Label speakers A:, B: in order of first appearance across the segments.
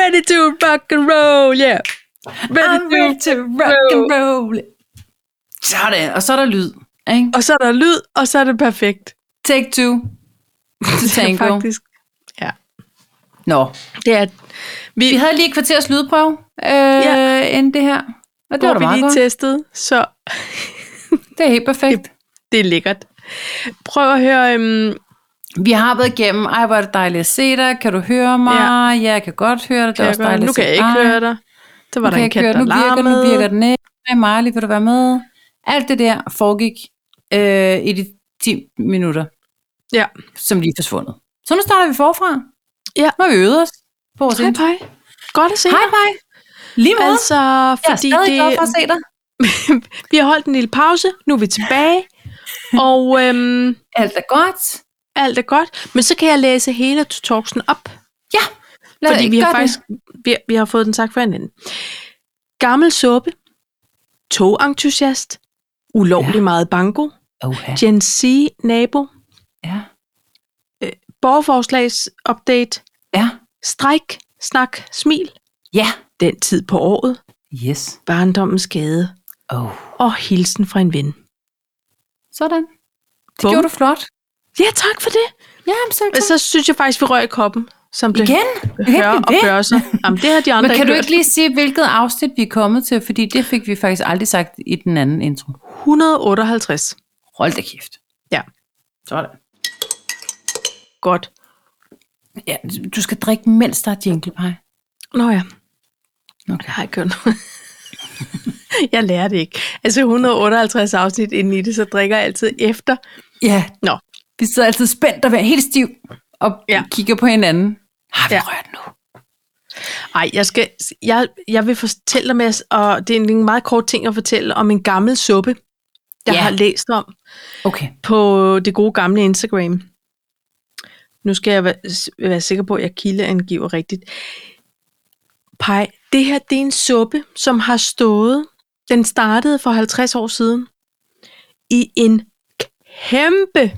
A: ready to rock and roll, yeah. Ready
B: I'm ready to rock and roll. Sådan, og så er der lyd. Ikke?
A: Og så er der lyd, og så er det perfekt.
B: Take two. To tango.
A: Faktisk.
B: Nå,
A: Det er, vi,
B: vi havde lige et kvarters lydprøve, øh, ja. inden det her. Og det
A: hvor
B: var da
A: vi
B: meget
A: lige
B: godt.
A: testede, så
B: Det er helt perfekt.
A: det er lækkert. Prøv at høre, øhm,
B: Vi har været igennem, ej hvor er det dejligt at se dig, kan du høre mig? Ja, ja jeg kan godt høre dig,
A: kan
B: det er
A: jeg
B: også
A: godt,
B: dejligt
A: nu
B: at se
A: kan jeg ikke
B: dig.
A: høre dig. Der var
B: Nu
A: der
B: kan
A: en kat,
B: jeg køre,
A: der
B: nu virker, den, nu
A: larmede.
B: virker den ikke. Hej Marley, vil du være med? Alt det der foregik øh, i de 10 minutter,
A: Ja.
B: som lige er forsvundet. Så nu starter vi forfra.
A: Ja.
B: Nu har vi øvet os på vores
A: Hej,
B: intro.
A: hej. Godt at se
B: Hej,
A: dig.
B: hej. Lige måde.
A: Altså,
B: jeg er
A: fordi
B: stadig glad for at
A: det,
B: se dig.
A: vi har holdt en lille pause, nu er vi tilbage, og øhm,
B: Alt er godt.
A: alt er godt. Men så kan jeg læse hele tutorksen op,
B: Ja. Lad
A: fordi vi
B: gør
A: har
B: det.
A: faktisk vi, vi har fået den sagt for hinanden. Gammel suppe, togentusiast, ulovlig
B: Ja.
A: meget banko,
B: Oha.
A: Gen Z-nabo,
B: Oh, Ja.
A: borgerforslagsupdate,
B: Ja.
A: stræk, snak, smil,
B: Ja.
A: den tid på året,
B: Yes.
A: barndommens gade
B: Oh.
A: og hilsen fra en ven.
B: Sådan. Det
A: Bum.
B: gjorde du flot.
A: Ja, tak for det.
B: Ja, men så,
A: Men så synes jeg faktisk, vi røg i koppen, som blev
B: Igen? Du kan ikke
A: høre og
B: blive ved.
A: bør sig. Jamen, det har de andre
B: Men kan
A: ikke
B: du
A: hørt.
B: ikke lige sige, hvilket afsnit vi er kommet til? Fordi det fik vi faktisk aldrig sagt i den anden intro.
A: 158.
B: Hold da kæft.
A: Ja,
B: Sådan.
A: godt.
B: Ja, du skal drikke, mens der er jingle pie.
A: Nå ja,
B: Okay.
A: jeg har ikke hørt noget. Jeg lærer det ikke. Altså 158 afsnit inden i det, så drikker jeg altid efter.
B: Ja,
A: Nå,
B: vi sidder altid spændt og er helt stiv og
A: Ja.
B: ja. kigger på hinanden. Har vi
A: Ja.
B: ja. rørt nu?
A: Ej, jeg, skal, jeg, jeg vil fortælle dig, Mads, og det er en meget kort ting at fortælle om en gammel suppe, jeg
B: Ja.
A: har læst om
B: Okay.
A: på det gode gamle Instagram. Nu skal jeg være, s- være sikker på, at jeg kildeangiver rigtigt. Pej, det her det er en suppe, som har stået, den startede for 50 år siden, i en kæmpe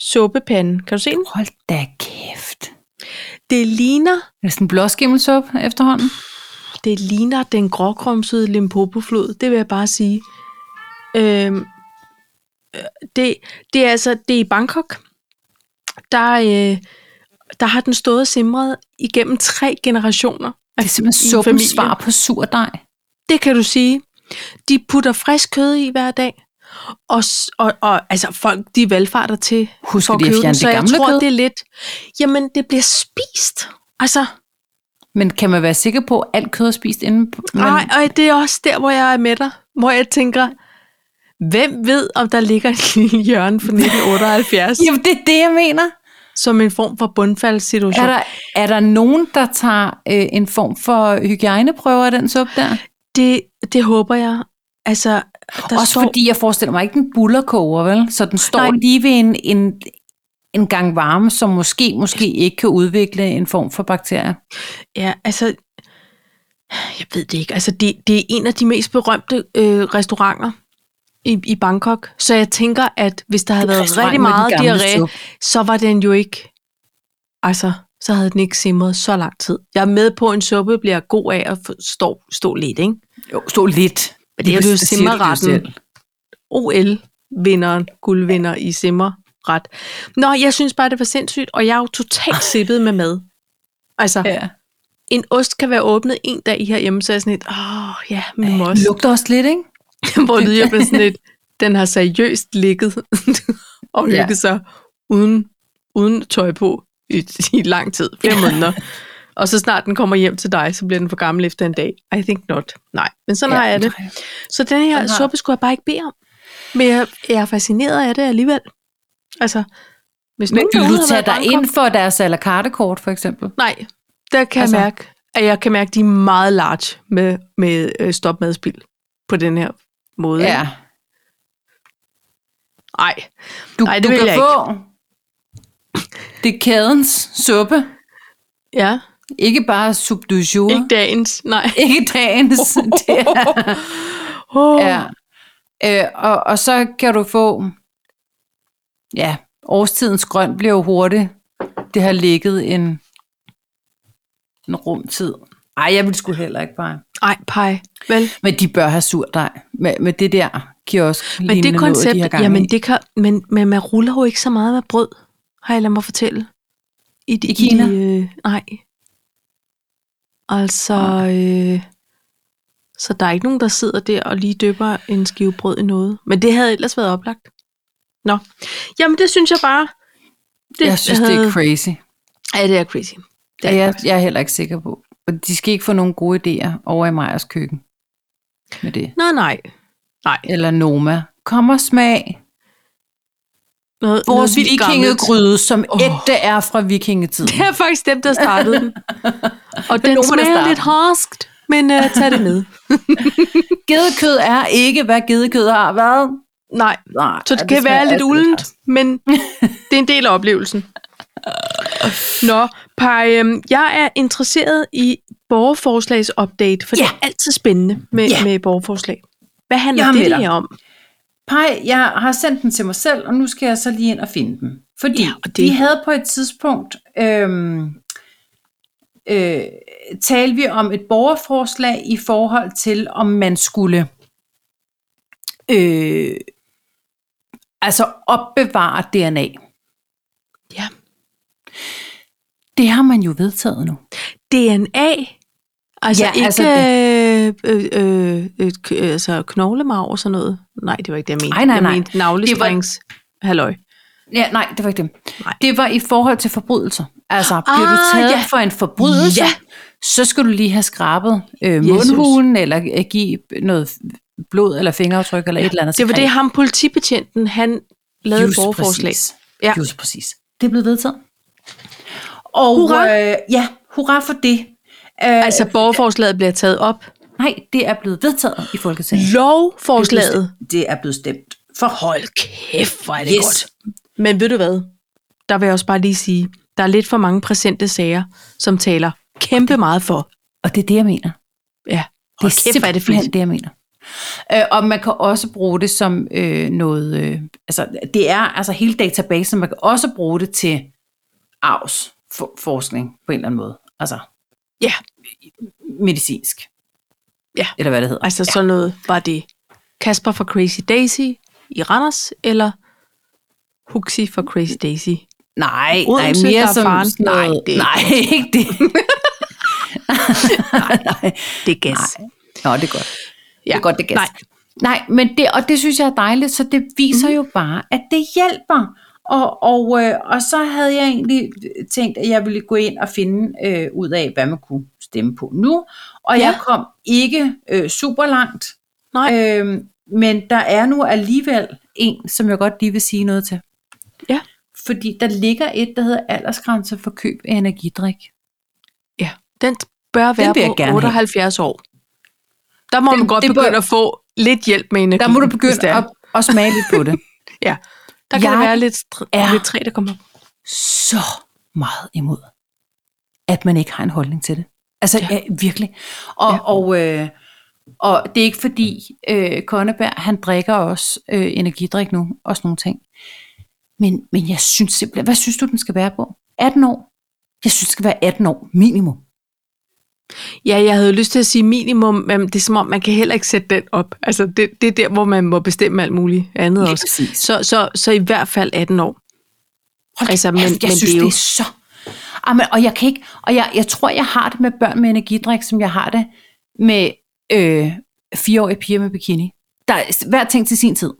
A: suppepande. Kan du se den?
B: Hold da kæft.
A: Det ligner
B: Er det sådan en blåskimmelsup efterhånden?
A: Det ligner den gråkrumsede Limpopo-flod, det vil jeg bare sige. Øhm, øh, det, det er altså det er i Bangkok. Der, øh, der har den stået og simret igennem tre generationer.
B: Det er simpelthen
A: i
B: suppens
A: familien.
B: svar på surdej.
A: Det kan du sige. De putter frisk kød i hver dag. Og, s- og, og altså folk, de valgfarter til
B: Husk
A: for at
B: lige at
A: købe den,
B: fjerne
A: så
B: det
A: jeg
B: gamle
A: tror,
B: kød.
A: det er lidt... Jamen, det bliver spist. Altså,
B: Men kan man være sikker på, at alt kød er spist inden? på- Men,
A: Nej, og det er også der, hvor jeg er med dig. Hvor jeg tænker, hvem ved, om der ligger en lille hjørne fra 1978
B: Jamen, det er det, jeg mener.
A: som en form for bundfaldssituation?
B: Er der, er der nogen, der tager øh, en form for hygiejneprøver af den suppe der?
A: Det, det håber jeg. Altså, der
B: Der Også
A: står,
B: står... fordi jeg forestiller mig ikke den bullerkoger, vel? Så den står
A: Nej.
B: Nej. lige ved en, en, en gang varme, som måske, måske ikke kan udvikle en form for bakterier.
A: Ja, altså... Jeg ved det ikke. Altså, det, det er en af de mest berømte øh, restauranter i, i Bangkok. Så jeg tænker, at hvis der havde været rigtig meget diarré, så var den jo ikke, altså, så havde den ikke simret så lang tid. Jeg er med på, at en suppe bliver god af at få- stå, stå lidt, ikke?
B: Jo, stå lidt. Men
A: det er jo simmerretten. OL-vinderen, guldvinder i simmerret. Nå, jeg synes bare, det var sindssygt, og jeg er jo totalt sippet med mad. Altså, ja.
B: Ja.
A: en ost kan være åbnet en dag i herhjemme, så er jeg sådan lidt, åh, ja, min mos.
B: Det lugter også lidt, ikke?
A: Hvor lyder jeg blev sådan lidt, den har seriøst ligget og
B: Ja.
A: hygget ja. sig uden, uden tøj på i, i lang tid, flere måneder. Og så snart den kommer hjem til dig, så bliver den for gammel efter en dag. I think not. Nej, men sådan ja, har jeg det. Så den her
B: Sådan har-
A: suppe skulle jeg bare ikke bede om. Men jeg, jeg er fascineret af det alligevel. Altså, hvis
B: Men
A: nogen
B: vil
A: derude har
B: du tage
A: været i
B: dig
A: Bangkok-
B: ind for deres à la carte kort, for eksempel?
A: Nej, der kan altså.
B: Altså-
A: jeg mærke, at jeg kan mærke, at de er meget large med, med øh, stopmadspil på den her måde. ikke? Ej,
B: Du,
A: Nej, det
B: du
A: vil
B: kan
A: jeg
B: få... Det er kædens suppe.
A: ja,
B: Ikke bare soup du jour.
A: ikke dagens, nej.
B: Ikke dagens. Det er,
A: Oh,
B: ja. øh, og, og så kan du få... Ja, årstidens grøn bliver jo hurtigt. Det har ligget en, en rumtid. Ej, jeg ville sgu heller ikke bare.
A: Ej, pej. Vel?
B: Men de bør have surdej med, med det der kiosk
A: Men det koncept,
B: noget, de har
A: jamen det kan, men, men man ruller jo ikke så meget med brød, har jeg ladet mig fortælle. I, de,
B: I Kina?
A: de, øh, nej. Altså, øh, så der er ikke nogen, der sidder der og lige døber en skive brød i noget. Men det havde ellers været oplagt. Nå, jamen det synes jeg bare.
B: det, jeg synes, det er
A: havde-
B: crazy.
A: Ja, det er crazy. Det
B: Det
A: er
B: er jeg, jeg er heller ikke sikker på. Og de skal ikke få nogle gode idéer over i Majers køkken med det.
A: Nej, nej. Nej,
B: Eller Noma. Kom og smag
A: noget,
B: vores
A: noget vildt gammelt.
B: vikingegryde, som
A: Åh.
B: oh. ægte er fra vikingetiden.
A: Det er faktisk dem, der startede den. Og den
B: nogen, der
A: smager
B: startede
A: lidt
B: den.
A: harskt, men uh, tag det med.
B: Gedekød er ikke, hvad gedekød har været.
A: Nej,
B: Nej,
A: så det, kan
B: smager
A: være lidt
B: altid
A: uldent,
B: rest.
A: men det er en del af oplevelsen. Nå, Paj, øhm, jeg er interesseret i borgerforslagsupdate, for det
B: Ja.
A: er altid spændende med,
B: Ja.
A: med borgerforslag. Hvad
B: Jeg
A: handler
B: er med
A: det
B: dig.
A: her om?
B: Pej, jeg har sendt den til mig selv, og nu skal jeg så lige ind og finde den. Fordi
A: Ja,
B: ja,
A: og det-
B: det... vi havde på et tidspunkt, øhm, øh, talte vi om et borgerforslag i forhold til, om man skulle øh, altså opbevare DNA.
A: Ja.
B: Det har man jo vedtaget nu.
A: DNA? Altså
B: Ja,
A: ja, ikke
B: altså
A: altså øh, øh, øh, k- øh, altså knoglemarv og sådan noget? Nej, det var ikke det, jeg mente.
B: Ej, nej,
A: jeg
B: nej.
A: mente navlestrings. Halløj.
B: Ja, nej, det var ikke det.
A: Nej.
B: Det var i forhold til forbrydelser. Altså, bliver du
A: Ah,
B: taget
A: ja.
B: ja. for en forbrydelse,
A: Ja.
B: ja. så skal du lige have skrabet øh,
A: Jesus.
B: mundhulen, eller øh, give noget blod eller fingeraftryk, eller et eller andet.
A: Det var
B: sekret.
A: det, ham politibetjenten, han lavede et
B: Just
A: borgerforslag.
B: Præcis.
A: Ja.
B: Ja. Just præcis. Det er blevet vedtaget. Og
A: Hurra.
B: Øh, ja, hurra for det. Øh, altså,
A: Altså, borgerforslaget bliver taget op.
B: nej, det er blevet vedtaget i Folketinget.
A: Lovforslaget.
B: Det er blevet stemt for højt.
A: Hold kæft, hvor er det
B: Yes.
A: godt. Men ved du hvad? Der vil jeg også bare lige sige, der er lidt for mange præsente sager, som taler kæmpe meget for.
B: Og det er det, jeg mener.
A: Ja,
B: Det
A: hold
B: er
A: kæft, hvor er det fedt.
B: det, jeg mener. Øh, og man kan også bruge det som øh, noget... Øh, altså, det er altså hele databasen, man kan også bruge det til arvs for, forskning på en eller anden måde. Altså
A: Ja,
B: medicinsk.
A: Ja.
B: Eller hvad det hedder.
A: altså sådan noget. Var det Kasper fra Crazy Daisy i Randers, eller Huxi fra Crazy Daisy?
B: Nej,
A: Odense,
B: nej, mere
A: der er
B: som
A: faren.
B: sådan
A: Nej,
B: noget.
A: det er ikke
B: nej, ikke det. nej,
A: Det er gas.
B: nej. Nå, det er godt.
A: Ja.
B: Det er godt, det er gas.
A: Nej.
B: Nej, men det, og det synes jeg er dejligt, så det viser mm. jo bare, at det hjælper. Og, og, øh, og så havde jeg egentlig tænkt, at jeg ville gå ind og finde øh, ud af, hvad man kunne stemme på nu. Og
A: Ja.
B: ja. jeg kom ikke øh, super langt,
A: Nej.
B: øh, men der er nu alligevel en, som jeg godt lige vil sige noget til.
A: Ja.
B: Fordi der ligger et, der hedder aldersgrænse for køb af energidrik.
A: Ja, den bør være
B: vil jeg
A: på
B: gerne have.
A: 78 have. år. Der må den,
B: Den-
A: man godt
B: det bør-
A: begynde at få lidt hjælp med energi.
B: Der må du
A: hvis det
B: begynde
A: er.
B: at, at smage lidt på det.
A: Ja, der kan
B: Jeg
A: det være lidt, str-
B: er-
A: lidt træ, der kommer op.
B: så meget imod, at man ikke har en holdning til det. Altså ja. Ja, virkelig. Og, ja. og, øh, og det er ikke fordi, øh, Konneberg, han drikker også øh, energidrik nu, og sådan nogle ting. Men, men jeg synes simpelthen, hvad synes du, den skal være på? 18 år? Jeg synes, det skal være 18 år minimum.
A: Ja, jeg havde lyst til at sige minimum, men det er som om, man kan heller ikke sætte den op. Altså, det, det er der, hvor man må bestemme alt muligt andet
B: Lige
A: også.
B: præcis.
A: Så, så, så i hvert fald 18 år. Altså,
B: Hold altså,
A: men-
B: men, jeg
A: men
B: synes,
A: det er
B: det
A: jo-
B: er, så... Ah, men, og jeg kan ikke, og jeg, jeg tror, jeg har det med børn med energidrik, som jeg har det med øh, fireårige piger med bikini. Der er s- hver ting til sin tid.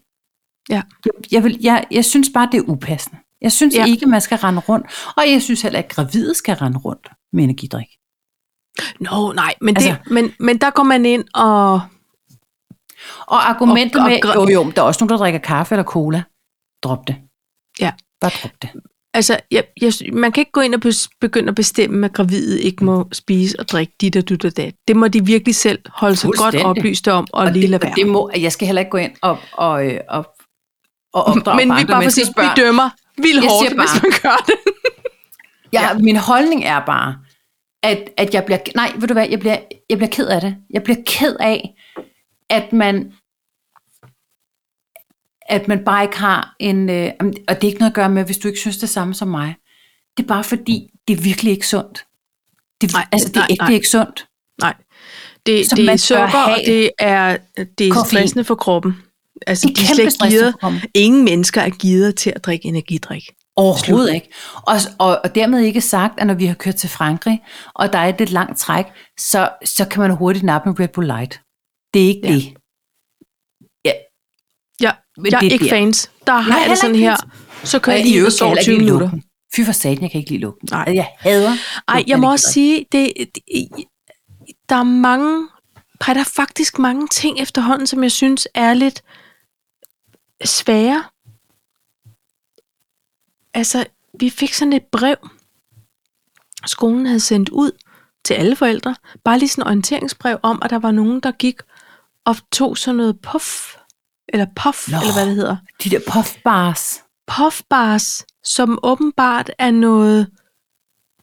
A: Ja.
B: Jeg, vil, jeg, jeg synes bare, det er upassende. Jeg synes
A: Ja.
B: ja. ikke, man skal rende rundt. Og jeg synes heller ikke, at gravide skal rende rundt med energidrik.
A: Nå, nej, men, altså, det,
B: Altså-
A: men, men der går man ind og...
B: Og argumentet
A: Og-
B: og,
A: og
B: med,
A: gra-
B: jo jo, men der er også nogen, der drikker kaffe eller cola. Drop det.
A: Ja.
B: Bare drop det.
A: Altså, jeg, jeg, man kan ikke gå ind og bes- begynde at bestemme, at gravide ikke må spise og drikke dit og dit og dat. Det må de virkelig selv holde sig godt
B: Fuldstændig.
A: oplyste om og, og lige
B: det,
A: lade
B: og
A: være.
B: det må, jeg skal heller ikke gå ind og, og, øh, og, og opdrage
A: men vi
B: andre
A: er bare for
B: menneskers
A: sige, vi dømmer vildt
B: Jeg
A: hårdt,
B: siger bare-
A: hvis man gør det.
B: Jeg, ja. Min holdning er bare, at, at jeg bliver... Nej, ved du hvad? Jeg bliver, jeg bliver ked af det. Jeg bliver ked af, at man at man bare ikke har en... Øh, jamen, og det er ikke noget at gøre med, hvis du ikke synes det samme som mig. Det er bare fordi, det er virkelig ikke sundt. Det,
A: Nej,
B: nej, altså, det er
A: nej,
B: ægte
A: nej.
B: ikke sundt.
A: Nej. Det,
B: Som
A: det er
B: man bør
A: sukker, og
B: have.
A: det er, det er
B: Koffein.
A: stressende for kroppen. Altså,
B: Det er
A: de er
B: kæmpe
A: slet ikke
B: stressende
A: gider.
B: for kroppen.
A: Ingen mennesker er gider til at drikke energidrik.
B: Overhovedet ikke. Og, og, og dermed ikke sagt, at når vi har kørt til Frankrig, og der er et lidt langt træk, så, så kan man hurtigt nappe en Red Bull Light. Det er ikke
A: Ja.
B: ja. det.
A: Ja,
B: Men
A: jeg er
B: det
A: ikke
B: bliver-
A: fans. Der har jeg
B: heller
A: det sådan
B: ikke
A: her. Så kører jeg i øvrigt
B: kan jeg
A: over
B: heller
A: 20
B: ikke lide
A: minutter.
B: lugten. Fy for satan, jeg kan ikke lide lugten.
A: Nej.
B: Altså, Jeg hader
A: Ej,
B: lugten af
A: jeg må
B: det
A: også
B: godt.
A: sige, det, det, der er mange, nej, der er faktisk mange ting efterhånden, som jeg synes er lidt svære. Altså, vi fik sådan et brev, skolen havde sendt ud til alle forældre, bare lige sådan et orienteringsbrev om, at der var nogen, der gik og tog sådan noget puff, eller puff,
B: Nå.
A: eller hvad det hedder
B: De der puffbars.
A: puffbars, som åbenbart er noget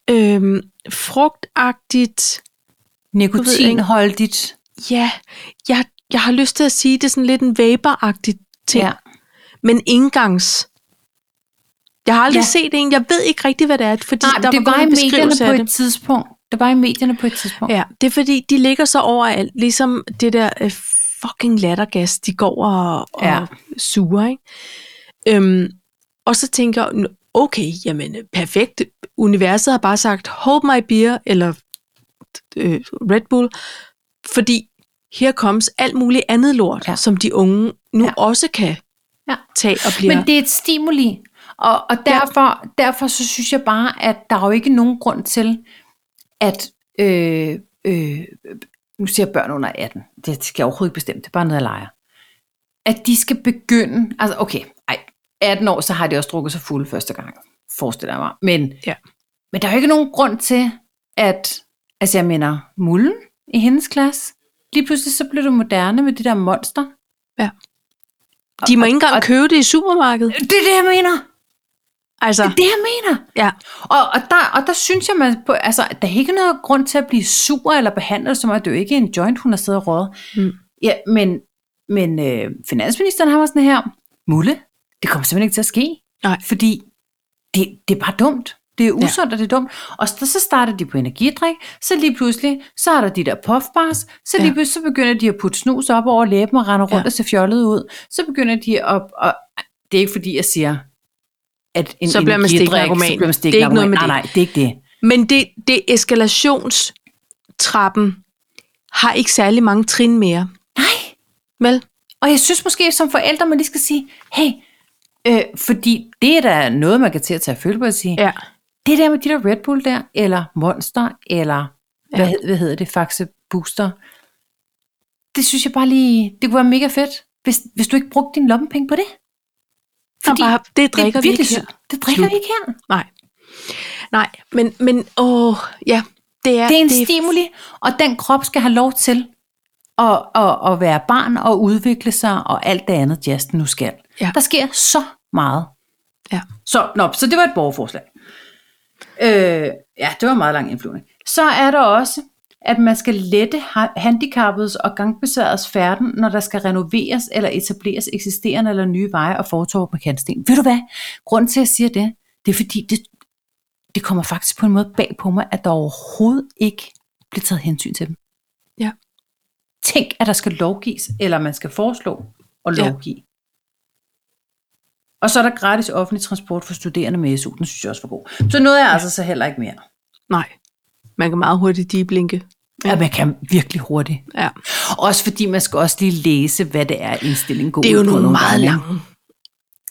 A: øhm, frugtagtigt.
B: Nikotinholdigt.
A: Ja, jeg, jeg har lyst til at sige, det er sådan lidt en vaporagtig ting, ja.
B: Ja.
A: men engangs. Jeg har aldrig ja.
B: Ja.
A: set en. Jeg ved ikke rigtig, hvad det er, fordi
B: Nej,
A: der
B: det
A: var
B: var
A: kun
B: i
A: en beskrivelse af
B: medierne på
A: det.
B: et tidspunkt. Det var i medierne på et tidspunkt.
A: Ja, det er fordi, de ligger så overalt, ligesom det der øh, fucking lattergas, de går og, og ja.
B: Ja.
A: suger, ikke? Øhm, og så tænker jeg, "Nå, okay, jamen øh, perfekt, universet har bare sagt, hold my beer, eller øh, Red Bull, fordi her comes alt muligt andet lort, ja.
B: Ja.
A: som de unge nu ja.
B: Ja.
A: også kan
B: Ja.
A: tage og blive.
B: Men det er et stimuli. Og, og derfor, ja. derfor så synes jeg bare, at der er jo ikke nogen grund til, at... Øh, øh, nu siger jeg børn under 18. Det skal jeg overhovedet ikke bestemme. Det er bare noget, jeg leger. At de skal begynde... Altså, okay. Ej, 18 år, så har de også drukket sig fulde første gang. Forestiller jeg mig. Men,
A: Ja.
B: men der er jo ikke nogen grund til, at... Altså, jeg mener, mulden i hendes klasse. Lige pludselig så blev det moderne med det der monster.
A: de må ikke engang
B: og-
A: købe det i supermarkedet.
B: Det er det, jeg mener.
A: Altså,
B: Det er det, jeg mener.
A: ja.
B: Og, og, der, og der synes jeg, man på, altså, der er ikke noget grund til at blive sur eller behandlet, som at det er jo ikke er en joint, hun har siddet og røget.
A: Mm.
B: Ja, men, men øh, finansministeren har var sådan her, Mulle, det kommer simpelthen ikke til at ske.
A: Nej.
B: Fordi det, det er bare dumt. Det er usundt, ja. og det er dumt. Og så, så starter de på energidrik, så lige pludselig, så er der de der puffbars, så lige
A: Ja.
B: pludselig så begynder de at putte snus op over læben og rende rundt
A: Ja.
B: og se fjollet ud. Så begynder de at... Og, det er ikke fordi, jeg siger, at en
A: Så bliver man
B: energidrik,
A: stiknarkoman.
B: Så bliver man
A: Det er ikke noget
B: stiknarkoman.
A: med
B: Nej,
A: det.
B: nej, det er ikke det.
A: Men det, det eskalationstrappen har ikke særlig mange trin mere.
B: Nej.
A: Vel?
B: Og jeg synes måske som forældre, man lige skal sige, hey, øh, fordi det er da noget, man kan til at tage følge på at sige,
A: Ja.
B: det der med de der Red Bull der, eller Monster, eller ja. hvad, hed- hvad hedder det, Faxe Booster, det synes jeg bare lige, det kunne være mega fedt, hvis, hvis du ikke brugte din lommepenge på det.
A: Fordi bare, det
B: det
A: drikker
B: er
A: det vi ikke
B: virkelig
A: her.
B: sygt. Det drikker
A: Slut.
B: vi ikke her.
A: Nej. Nej, men, men åh, ja, det er...
B: Det er en det... stimuli, og den krop skal have lov til at, at, at være barn og udvikle sig og alt det andet, jazz nu skal.
A: Ja.
B: Der sker så meget.
A: Ja.
B: Så, nå, så det var et borgerforslag. Øh, ja, det var en meget lang indflyvning. Så er der også, at man skal lette ha- handicappedes og gangbesværets færden, når der skal renoveres eller etableres eksisterende eller nye veje og fortorv på kantsten. Ved du hvad? Grunden til, at jeg siger det, det er fordi, det, det kommer faktisk på en måde bag på mig, at der overhovedet ikke bliver taget hensyn til dem.
A: Ja.
B: Tænk, at der skal lovgives, eller man skal foreslå at
A: Ja.
B: lovgive. Ja. Og så er der gratis offentlig transport for studerende med SU. Den synes jeg også var god. Så noget er altså så heller ikke mere.
A: Nej, man kan meget hurtigt diblinke.
B: Ja, man kan virkelig hurtigt.
A: Ja.
B: Også fordi man skal også lige læse, hvad det er, indstillingen går
A: Det er jo
B: ud på
A: nogle meget
B: gange.
A: lange...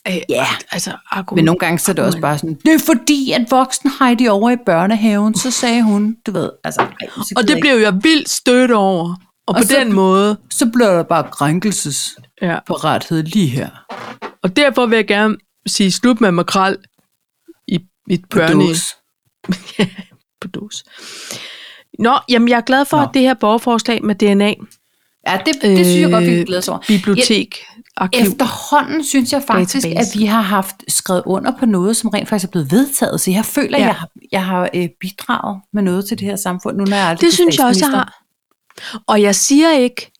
A: Øh,
B: Ja,
A: altså, argument.
B: men nogle gange så er det også bare sådan, det er fordi, at voksen Heidi over i børnehaven, så sagde hun, du ved, altså, ej, så
A: Og
B: gider jeg
A: det bliver jeg vildt stødt over. Og, og
B: Og
A: på
B: så-
A: den måde...
B: ikke. så bliver der bare krænkelsesparathed
A: Ja.
B: lige her.
A: Og derfor vil jeg gerne sige slut med makrel i mit
B: På
A: børne...
B: dås.
A: på dåse. Nå, jamen jeg er glad for, Nå.
B: Nå.
A: at det her borgerforslag med DNA,
B: Ja, det, det synes jeg godt, vi kan glæde os over.
A: øh, bibliotek, arkiv,
B: Efterhånden synes jeg faktisk, at
A: Database.
B: vi har haft skrevet under på noget, som rent faktisk er blevet vedtaget. Så jeg føler, at
A: Ja.
B: jeg har, jeg har øh, bidraget med noget til det her samfund, nu når jeg aldrig
A: det synes jeg også, jeg har. Og jeg siger ikke,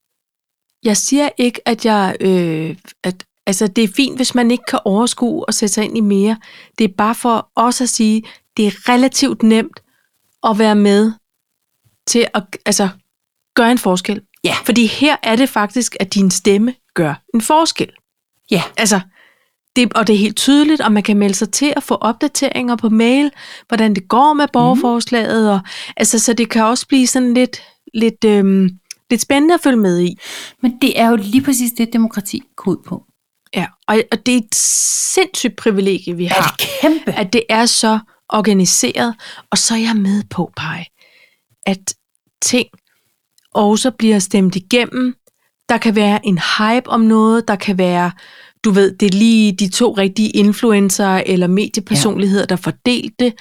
A: jeg siger ikke, at jeg, øh, at, altså det er fint, hvis man ikke kan overskue og sætte sig ind i mere. Det er bare for os at sige, det er relativt nemt at være med til at, altså gør en forskel.
B: Ja.
A: Fordi her er det faktisk, at din stemme gør en forskel.
B: Ja.
A: Altså, det, og det er helt tydeligt, og man kan melde sig til at få opdateringer på mail, hvordan det går med borgerforslaget, mm. og, altså, så det kan også blive sådan lidt, lidt, øhm, lidt spændende at følge med i.
B: Men det er jo lige præcis det, demokrati går ud på.
A: Ja, og, og det er et sindssygt privilegie, vi
B: Er
A: har,
B: det kæmpe?
A: at det er så organiseret, og så er jeg med på, Paj, at ting også bliver stemt igennem. Der kan være en hype om noget, der kan være, du ved, det er lige de to rigtige influencer eller mediepersonligheder, ja. der fordelt det.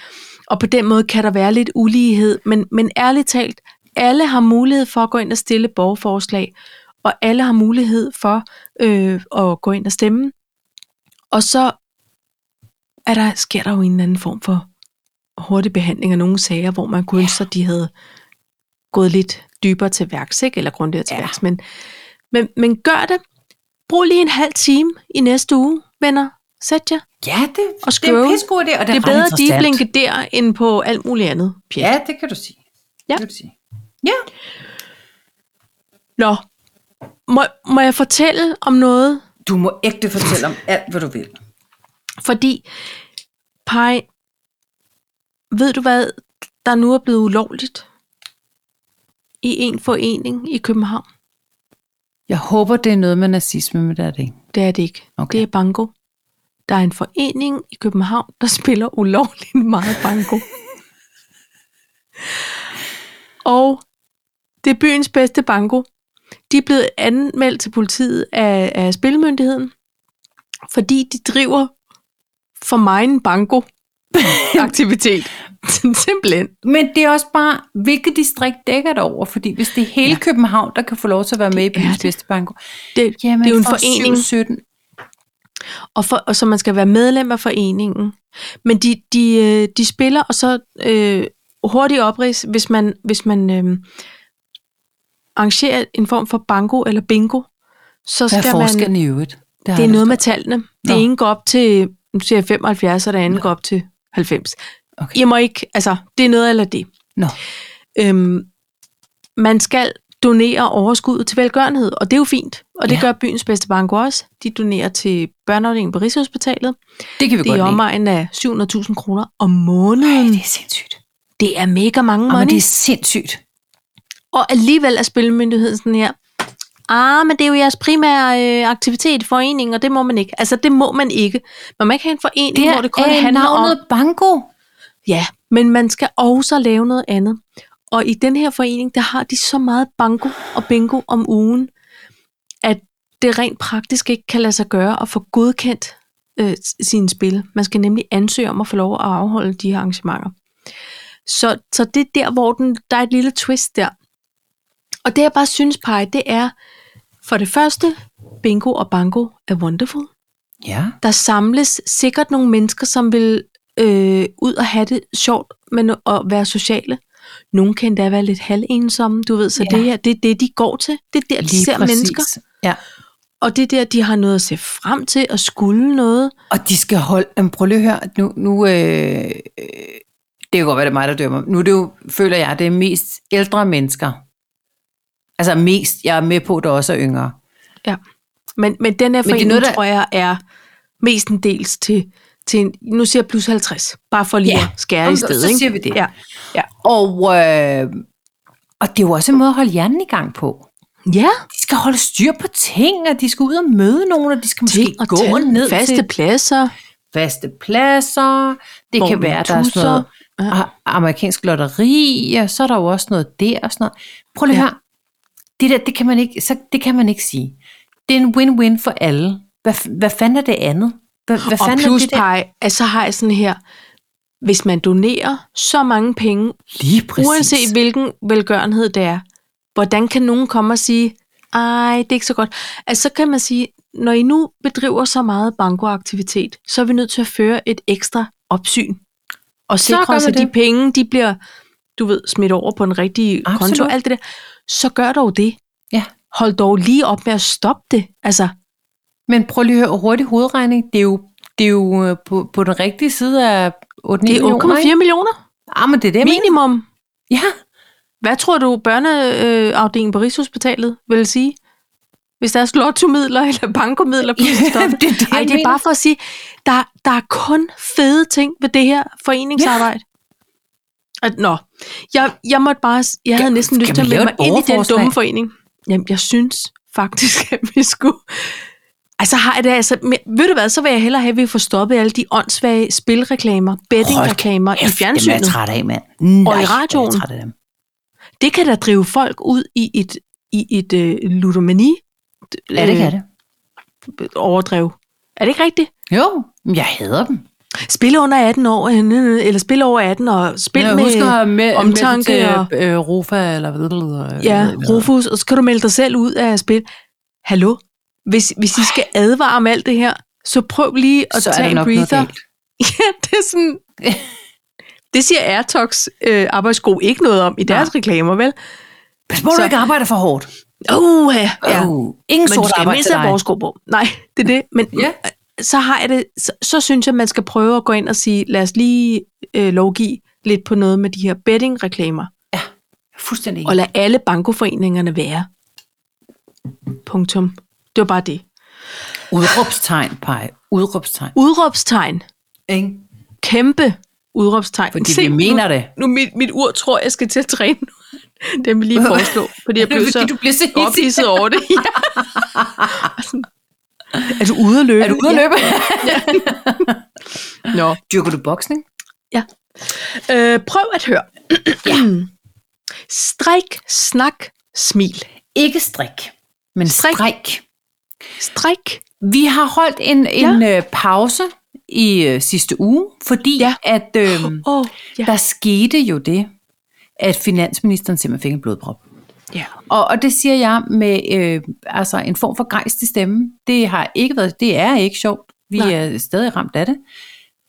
A: Og på den måde kan der være lidt ulighed, men, men ærligt talt, alle har mulighed for at gå ind og stille borgerforslag, og alle har mulighed for øh, at gå ind og stemme. Og så er der, sker der jo en eller anden form for hurtig behandling af nogle sager, hvor man kunne ønske, at de havde gået lidt dybere til værks, ikke? eller grundigere til
B: Ja.
A: ja. værks. Men, men, men gør det. Brug lige en halv time i næste uge, venner. Sæt jer.
B: Ja, det,
A: Og
B: det er
A: skrive.
B: en pissegod idé, og det,
A: Det er
B: ret
A: bedre
B: interessant.
A: deep der, end på alt muligt andet. Pjat.
B: Ja, det kan du sige.
A: Ja.
B: Det kan du sige. Ja.
A: Nå, må, må jeg fortælle om noget?
B: Du må ægte fortælle om alt, hvad du vil.
A: Fordi, Pej, ved du hvad, der nu er blevet ulovligt i en forening i København?
B: Jeg håber, det er noget med nazisme, men det er det ikke.
A: Det er det ikke.
B: Okay.
A: Det er banko. Der er en forening i København, der spiller ulovligt meget banko. og det er byens bedste banko. De er blevet anmeldt til politiet af, af Spilmyndigheden, fordi de driver for megen banko-aktivitet. Simpelthen.
B: Men det er også bare, hvilket distrikt dækker det over? Fordi hvis det er hele ja. København, der kan få lov til at være med i
A: er
B: byens
A: det.
B: bedste banko,
A: Det,
B: jamen
A: det er jo en
B: for
A: forening.
B: 17.
A: og, for, og så man skal være medlem af foreningen. Men de, de, øh, de spiller, og så øh, hurtigt oprids, hvis man, hvis man øh, arrangerer en form for banko eller bingo, så
B: Hvad
A: skal
B: er
A: man...
B: forskellen i øvrigt? har
A: Det er
B: jeg
A: noget med
B: lyst
A: tallene.
B: Nå.
A: Det ene går op til nu siger jeg 75, og det andet går op til 90.
B: Okay.
A: Jeg må ikke... Altså, det er noget eller det.
B: til. Nå,
A: Øhm, man skal donere overskuddet til velgørenhed, og det er jo fint. Og det
B: Ja.
A: gør byens bedste banko også. De donerer til børneafdelingen på Rigshospitalet.
B: det kan vi
A: Det er
B: godt
A: i
B: lide.
A: omegnen af 700.000 kroner om
B: Ej,
A: måneden.
B: det er sindssygt.
A: Det er mega mange
B: Jamen,
A: money.
B: det er sindssygt.
A: Og alligevel er Spillemyndigheden sådan her. Ah, men det er jo jeres primære øh, aktivitet, forening, og det må man ikke. Altså, det må man ikke. Man må ikke have en forening,
B: Det
A: det
B: er,
A: hvor det kun
B: er
A: handler
B: navnet
A: om...
B: banko.
A: Ja, men man skal også lave noget andet. Og i den her forening, der har de så meget banko og bingo om ugen, at det rent praktisk ikke kan lade sig gøre at få godkendt øh, s- sine spil. Man skal nemlig ansøge om at få lov at afholde de her arrangementer. Så, så det er der, hvor den, der er et lille twist der. Og det jeg bare synes, Paj, det er for det første, bingo og banko er wonderful.
B: Ja.
A: Der samles sikkert nogle mennesker, som vil øh, ud og have det sjovt, men at være sociale. Nogle kan endda være lidt halvensomme, du ved, så
B: Ja.
A: det her, det er det, de går til. Det er der, de
B: Lige
A: ser
B: præcis.
A: mennesker.
B: Ja.
A: Og det er der, de har noget at se frem til og skulle noget.
B: Og de skal holde... Jamen, prøv lige at høre. Nu, nu, øh, øh, det kan godt være, det er mig, der dømmer. Nu er det jo, føler jeg, det er mest ældre mennesker. Altså mest. Jeg er med på, at der også er yngre.
A: Ja. Men, men den her
B: det er
A: forening,
B: noget, der-
A: tror jeg, er mestendels til, til en, nu siger jeg plus 50, bare for lige
B: Ja.
A: ja. at skære
B: Jamen,
A: i
B: så-
A: stedet.
B: så
A: ikke?
B: siger vi det.
A: Ja. Ja.
B: Og, øh, og det er jo også en måde at holde hjernen i gang på.
A: ja.
B: De skal holde styr på ting, og de skal ud og møde nogen, og de skal måske
A: Ting og
B: gå
A: tal,
B: ned
A: faste
B: til
A: pladser.
B: faste pladser. Det
A: Hvor
B: kan
A: man
B: være, der er sådan noget
A: tusser.
B: ja. amerikansk lotteri, og så er der jo også noget der og sådan noget. Prøv lige ja.
A: Ja.
B: her. Det der, det kan, man ikke, så, det kan man ikke sige. Det er en win-win for alle. Hvad, f- hvad fanden er det andet? Hvad, hvad
A: Og
B: fanden
A: plus,
B: er det der?
A: pej, at så har jeg sådan her, hvis man donerer så mange penge,
B: Lige præcis.
A: uanset hvilken velgørenhed det er, hvordan kan nogen komme og sige, ej, det er ikke så godt. Altså, så kan man sige, når I nu bedriver så meget bankoaktivitet, så er vi nødt til at føre et ekstra opsyn. Og
B: gør
A: sikre os,
B: man
A: at de
B: det.
A: penge, de bliver, du ved, smidt over på den rigtige Absolut. konto,
B: Absolut.
A: alt det der. Så gør dog det.
B: Ja.
A: Hold dog lige op med at stoppe det. Altså,
B: Men prøv lige at høre, hurtig hovedregning, det er jo, det er jo øh, på, på den rigtige side af 8
A: det er 8,4 millioner
B: Ah, men det er det, jeg mener.
A: minimum.
B: Ja,
A: Hvad tror du, børneafdelingen på Rigshospitalet vil sige? Hvis der er slottomidler eller bankomidler på ja, det, det, Ej, det er bare for at sige, der, der er kun fede ting ved det her foreningsarbejde. Ja. At, nå, jeg, jeg måtte bare, jeg havde
B: Kan-
A: næsten lyst
B: kan
A: til at
B: man lave
A: melde mig
B: et
A: ind i den
B: borgerforslag?
A: dumme forening. Jamen, jeg synes faktisk, at vi skulle... Altså har jeg det altså, men, ved du hvad, så vil jeg hellere have, at vi får stoppet alle de åndssvage spilreklamer, bettingreklamer i
B: Dem er jeg
A: fjernsynet.
B: træt af, mand. Nej,
A: Og i
B: hvor er jeg
A: radioen.
B: træt af dem.
A: Det kan da drive folk ud i et, i et øh, ludomani
B: Ja, det kan det.
A: Øh, overdrev. Er det ikke rigtigt?
B: Jo, men jeg hader dem.
A: Spil under 18 år, øh, øh, øh, eller spil over 18 og spil
B: jeg
A: med...
B: husker med,
A: omtanke
B: med
A: og-
B: til, øh, Rofa eller hvad det hedder. øh,
A: Ja,
B: hvad det hedder.
A: Rufus, og så kan du melde dig selv ud af spil. Hallo? Hvis, hvis I skal advare om alt det her, så prøv lige at
B: Så er
A: tage
B: der
A: en
B: nok noget
A: breather.
B: galt.
A: Ja, det er sådan... Det siger Airtox øh, arbejdsgruppe ikke noget om i deres ja. reklamer, vel?
B: Pas på, du
A: Så-
B: ikke arbejder for hårdt.
A: Uh, ja. ja.
B: Oh, ingen
A: Men du
B: sort
A: skal
B: arbejde
A: mindst
B: til
A: have
B: dig.
A: vores sko på. Nej, det er det. Men
B: Ja.
A: så har jeg det, så, så synes jeg, man skal prøve at gå ind og sige, lad os lige øh, lovgive lidt på noget med de her bettingreklamer,
B: Fuldstændig.
A: og lad alle bankoforeningerne være. Punktum. Det var bare det.
B: Udråbstegn, pege. Udråbstegn.
A: Udråbstegn.
B: Ikke?
A: Kæmpe udråbstegn.
B: Fordi
A: Se,
B: vi mener det.
A: Nu, nu mit, mit ur tror, jeg skal til at træne nu. Det vil lige foreslå, fordi jeg blev så
B: bliver så
A: ophidset over det. Ja. Sådan. Er du ude at løbe?
B: Er du ude at løbe?
A: Ja. Nå.
B: Dyrker du boksning?
A: Øh, prøv at høre. ja. Strik, snak, smil.
B: Ikke strik, men
A: Strik.
B: strik.
A: Strik.
B: Vi har holdt en, en øh, pause i øh, sidste uge, fordi
A: Ja.
B: ja. at øh,
A: Oh, ja.
B: der skete jo det, at finansministeren simpelthen fik en blodprop.
A: ja.
B: Og, og det siger jeg med øh, altså en form for grejst i stemmen. Det har ikke været, det er ikke sjovt. Vi
A: Nej.
B: Nej. er stadig ramt af det.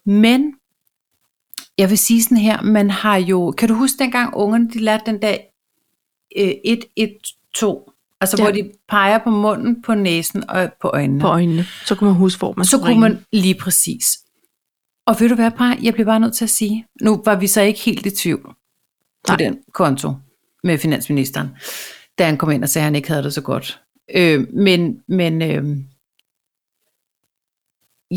B: Men jeg vil sige sådan her, man har jo, kan du huske dengang ungerne, de lærte den der øh, 1, 1, 2, altså
A: Ja.
B: ja. hvor de peger på munden, på næsen og på øjnene.
A: På øjnene. Så kunne man huske, hvor man
B: så
A: skulle
B: kunne
A: ringe.
B: man lige præcis. Og ved du hvad, Paj, jeg bliver bare nødt til at sige, nu var vi så ikke helt i tvivl på
A: Nej.
B: Nej. den konto med finansministeren, da han kom ind og sagde, at han ikke havde det så godt. Øh, men men øh,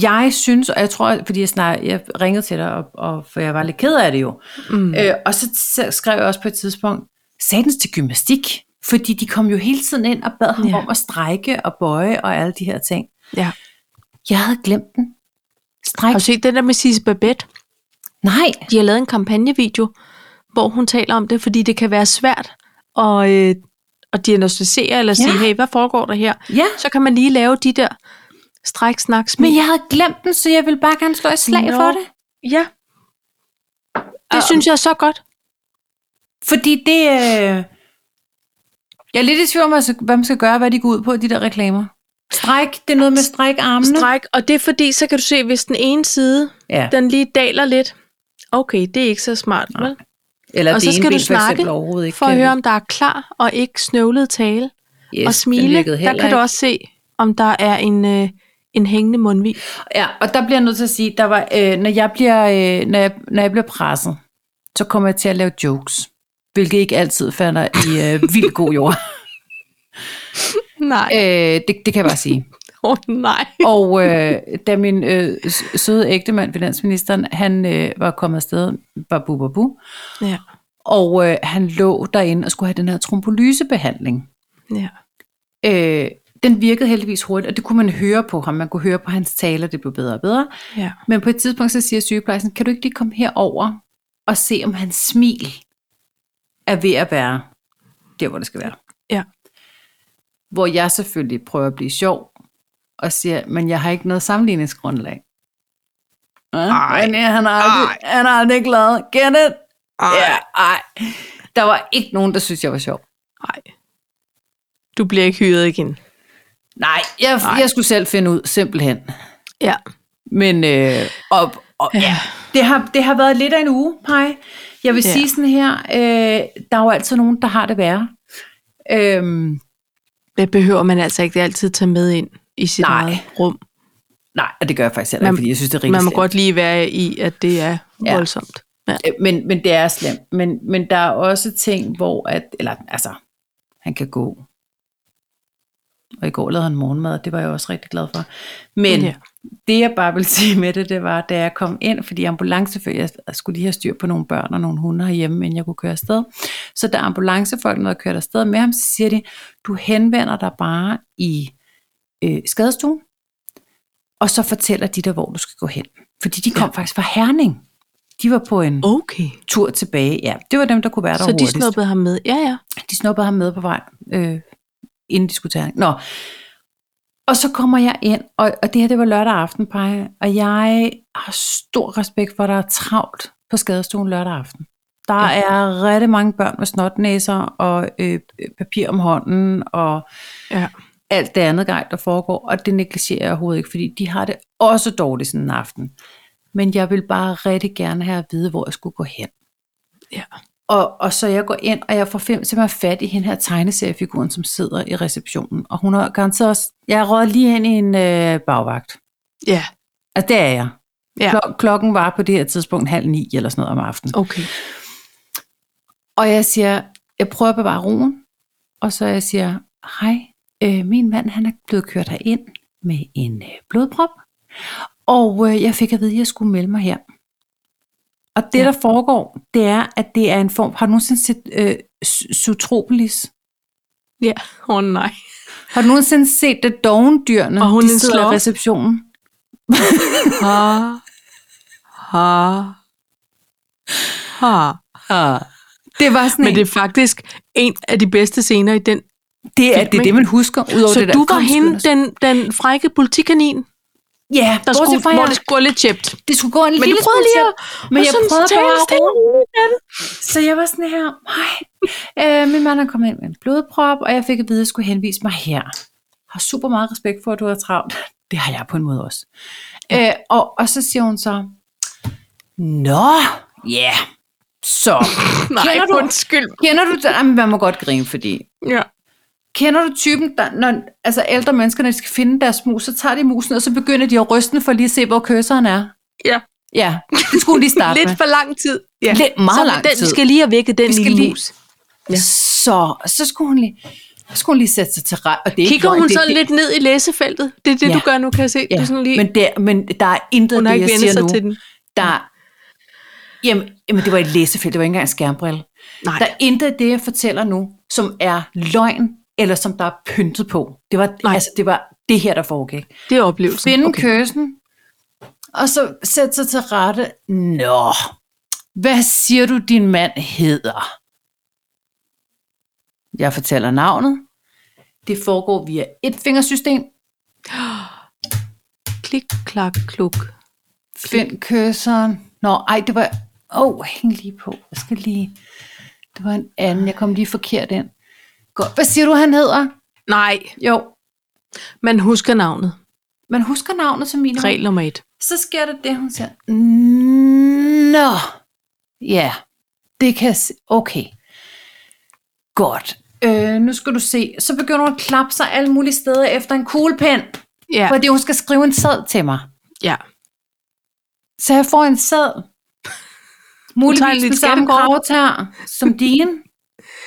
B: jeg synes, og jeg tror, fordi jeg, snak, jeg ringede til dig, og, og, for jeg var lidt ked af det jo,
A: Mm.
B: Øh, og så, så skrev jeg også på et tidspunkt, satans til gymnastik, fordi de kom jo hele tiden ind og bad ham
A: Ja.
B: ja. om at strække og bøje og alle de her ting.
A: Ja.
B: Jeg havde glemt den. Stræk.
A: Har du set den der med Sisse Babette?
B: Nej.
A: De har lavet en kampagnevideo, hvor hun taler om det, fordi det kan være svært at, øh, at diagnostisere eller sige,
B: Ja.
A: hey, hvad foregår der her?
B: Ja.
A: Så kan man lige lave de der stræk, snak, smil.
B: Men jeg havde glemt den, så jeg ville bare gerne slå et slag
A: Nå.
B: no. for det.
A: ja. Det
B: Og-
A: synes jeg er så godt.
B: Fordi det... Øh, jeg er lidt i tvivl om, altså, hvad man skal gøre, hvad de går ud på, de der reklamer. Stræk, det er noget med stræk armene.
A: Stræk, og det er fordi, så kan du se, hvis den ene side,
B: Ja.
A: den lige daler lidt. Okay, det er ikke så smart, vel?
B: Eller
A: Og
B: det
A: så
B: ene
A: skal du
B: ben for eksempel
A: snakke
B: overhovedet ikke
A: For at
B: kan-
A: høre, om der er klar og ikke snøvlet tale.
B: yes,
A: og
B: den
A: smile,
B: virkede
A: der
B: heller
A: kan du
B: ikke.
A: også se, om der er en, øh, en hængende mundvig.
B: Ja, og der bliver jeg nødt til at sige, der var, øh, når, jeg bliver, øh, når, jeg, når jeg bliver presset, så kommer jeg til at lave jokes. Hvilket ikke altid falder i øh, vildt god jord.
A: Nej,
B: øh, det, det kan jeg bare sige.
A: åh oh, nej.
B: Og øh, da min øh, s- søde ægtemand, finansministeren, han øh, var kommet afsted, babu babu,
A: Ja,
B: og øh, han lå derinde og skulle have den her trombolysebehandling.
A: ja.
B: Øh, den virkede heldigvis hurtigt, og det kunne man høre på ham. Man kunne høre på hans taler, det blev bedre og bedre.
A: Ja.
B: Men på et tidspunkt så siger sygeplejersken, kan du ikke lige komme herover og se, om hans smil er ved at være der, hvor det skal være.
A: Ja.
B: Hvor jeg selvfølgelig prøver at blive sjov og siger, men jeg har ikke noget sammenligningsgrundlag.
A: Ej.
B: Nej, han har aldrig, han har aldrig glad. Get it? Ja, ej. Der var ikke nogen, der synes, jeg var sjov.
A: Nej. Du bliver ikke hyret igen.
B: Nej, jeg,
A: Nej.
B: jeg skulle selv finde ud, simpelthen.
A: Ja.
B: Men øh, og, og,
A: Ja.
B: ja. det, har, det har været lidt af en uge, Paj. Jeg vil
A: Ja.
B: ja. sige sådan her, øh, der er jo altid nogen, der har det værre. Øhm,
A: Det behøver man altså ikke altid tage med ind i sit
B: Nej.
A: eget rum.
B: nej, og det gør jeg faktisk heller
A: Man-
B: ikke, fordi jeg synes, det er rigtig
A: Man må
B: slemt.
A: godt lige være i, at det er
B: Ja.
A: voldsomt.
B: Ja. Øh, Men, men det er slemt. Men, men der er også ting, hvor at, eller altså, han kan gå. Og i går lavede han morgenmad, og det var jeg også rigtig glad for. Men ja. det jeg bare vil sige med det, det var, da jeg kom ind, fordi ambulancefører, jeg skulle lige have styr på nogle børn og nogle hunde herhjemme, inden jeg kunne køre afsted. Så da ambulancefolkene havde kørt afsted med ham, så siger de, du henvender dig bare i øh, skadestuen, og så fortæller de dig, hvor du skal gå hen. Fordi de kom ja. faktisk fra Herning. De var på en
A: okay.
B: tur tilbage. Ja, det var dem, der kunne være der
A: Så
B: hurtigst.
A: de hurtigst. snuppede ham med? Ja, ja.
B: De snuppede ham med på vej, øh, inden de skulle tage Nå. Og så kommer jeg ind, og, og det her, det var lørdag aften, Paj, og jeg har stor respekt for, at der er travlt på skadestuen lørdag aften. Der ja. er rigtig mange børn med snotnæser og øh, papir om hånden og ja. alt det andet gej, der foregår, og det negligerer jeg overhovedet ikke, fordi de har det også dårligt sådan en aften men jeg vil bare rigtig gerne have at vide, hvor jeg skulle gå hen.
A: Ja.
B: Og, og så jeg går ind, og jeg får fem simpelthen fat i hende her tegneseriefiguren, som sidder i receptionen. Og hun har garanteret også, jeg råd lige ind i en øh, bagvagt.
A: Ja.
B: Altså, det er jeg.
A: Ja.
B: Klok- klokken var på det her tidspunkt halv ni eller sådan noget om aftenen.
A: Okay.
B: Og jeg siger, jeg prøver at bevare roen. Og så jeg siger, hej, øh, min mand han er blevet kørt herind med en øh, blodprop. Og øh, jeg fik at vide, at jeg skulle melde mig her. Og det, ja. der foregår, det er, at det er en form... Har du nogensinde set øh, Zootropolis?
A: Ja, åh oh, nej.
B: Har du nogensinde set det dovendyrene,
A: og hun
B: de sidder slår. i receptionen?
A: ha, ha, ha,
B: ha. Ah. Det var sådan
A: Men en. det er faktisk en af de bedste scener i den
B: det er, det, er det, man husker. Udover
A: Så
B: det
A: du
B: der,
A: var hende,
B: altså.
A: den, den frække politikanin?
B: Ja, yeah,
A: der skulle, fra, hvor det skulle gå lidt tjept.
B: Det skulle gå en
A: men
B: lille
A: smule tjept.
B: Men jeg prøvede bare at
A: roligt.
B: Så jeg var sådan her, hej, øh, min mand er kommet ind med en blodprop, og jeg fik at vide, at jeg skulle henvise mig her. Har super meget respekt for, at du har travlt. Det har jeg på en måde også. Ja. Øh, og, og så siger hun så, Nå, ja, yeah. så.
A: Nej, kender du, undskyld.
B: Kender du, jamen, man må godt grine, fordi
A: ja.
B: Kender du typen, der, når altså ældre mennesker, når de skal finde deres mus, så tager de musen, og så begynder de at ryste den for lige at se, hvor køseren er?
A: Ja.
B: Ja, det skulle de starte
A: Lidt
B: med.
A: for lang tid.
B: Ja. Lidt, meget
A: så
B: lang
A: den,
B: tid.
A: Vi skal lige have vækket den
B: Vi skal
A: lille
B: lige-
A: mus.
B: Ja. Så, så skulle hun lige, så skulle hun lige sætte sig til ret. Og det er ikke
A: Kigger
B: løgn,
A: hun
B: det-
A: sådan
B: det-
A: lidt ned i læsefeltet? Det er det,
B: Ja.
A: du gør nu, kan jeg se. Du
B: Ja,
A: er sådan lige,
B: men, det, men der er intet,
A: hun har
B: det
A: ikke
B: jeg
A: vendt
B: siger
A: sig
B: nu,
A: til den.
B: der Jamen, jamen, det var et læsefelt, det var ikke engang et skærmbrille.
A: Nej.
B: Der er intet af det, jeg fortæller nu, som er løgn, eller som der er pyntet på. Det var,
A: Nej.
B: altså, det, var det her, der foregik.
A: Det er oplevelsen.
B: Finde okay. køsen, og så sætte sig til rette. Nå, hvad siger du, din mand hedder? Jeg fortæller navnet. Det foregår via et fingersystem.
A: Klik, klak, kluk.
B: Find køseren. Nå, ej, det var... Åh, oh, hæng lige på. Jeg skal lige... Det var en anden. Jeg kom lige forkert ind. Godt. Hvad siger du, han hedder?
A: Nej,
B: Jo,
A: man husker navnet.
B: man husker navnet som minimum.
A: Regel nummer et.
B: Så sker der det, hun siger. Nå. Ja, det kan jeg se. Okay. Godt. Øh, nu skal du se. Så begynder hun at klappe sig alle mulige steder efter en kuglepen,
A: Ja,
B: ja. fordi hun skal skrive en sæd til mig.
A: ja.
B: Så jeg får en sæd.
A: tager en
B: Muligvis
A: lidt
B: den samme
A: skattekort.
B: gravtær som din,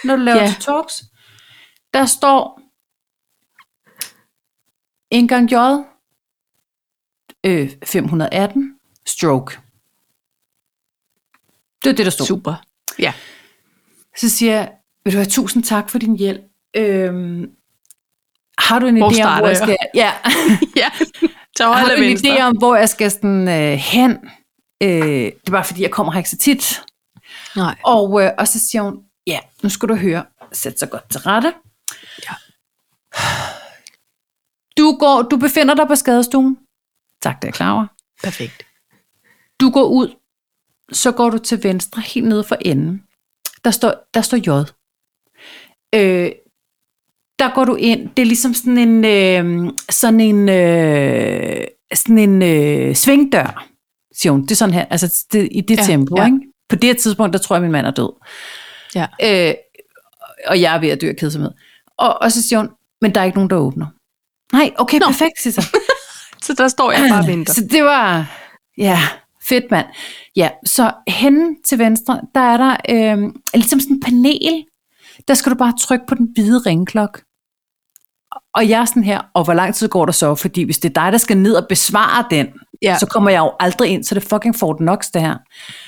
B: når du laver
A: Ja.
B: ja. talks. Der står en gang J, øh, 518, stroke. Det er det, der stod.
A: Super. Ja.
B: Så siger jeg, vil du have tusind tak for din hjælp. Øhm, har du en
A: Hvor
B: idé om,
A: starter
B: hvor jeg
A: jeg?
B: skal... Ja.
A: ja. Så
B: Har
A: holder
B: du en
A: venstre.
B: idé om, hvor jeg skal sådan, øh, hen? Øh, det er bare fordi, jeg kommer her ikke så tit.
A: Nej.
B: Og, øh, og så siger hun, ja, nu skal du høre, sæt sig godt til rette.
A: Ja.
B: Du, går, du befinder dig på skadestuen. Tak, det er jeg klar over.
A: Perfekt.
B: Du går ud, så går du til venstre, helt nede for enden. Der står, der står J. Øh, der går du ind, det er ligesom sådan en, øh, sådan en, øh, sådan en øh, svingdør, siger hun. Det er sådan her, altså det, i det
A: Ja,
B: ja, tempo,
A: ja.
B: ja. ikke? På det her tidspunkt, der tror jeg, min mand er død.
A: Ja.
B: Øh, og jeg er ved at dø af kedsomhed. Og, og så siger hun, men der er ikke nogen, der åbner. Nej, okay, Nå. perfekt, siger jeg så.
A: Så der står jeg bare og venter.
B: Så det var, ja, Fedt mand. Ja, så henne til venstre, der er der øh, ligesom sådan en panel. Der skal du bare trykke på den hvide ringklok. Og jeg er sådan her, og hvor lang tid går der så? Fordi hvis det er dig, der skal ned og besvare den, ja. så kommer jeg jo aldrig ind, så det fucking får den nok, det her.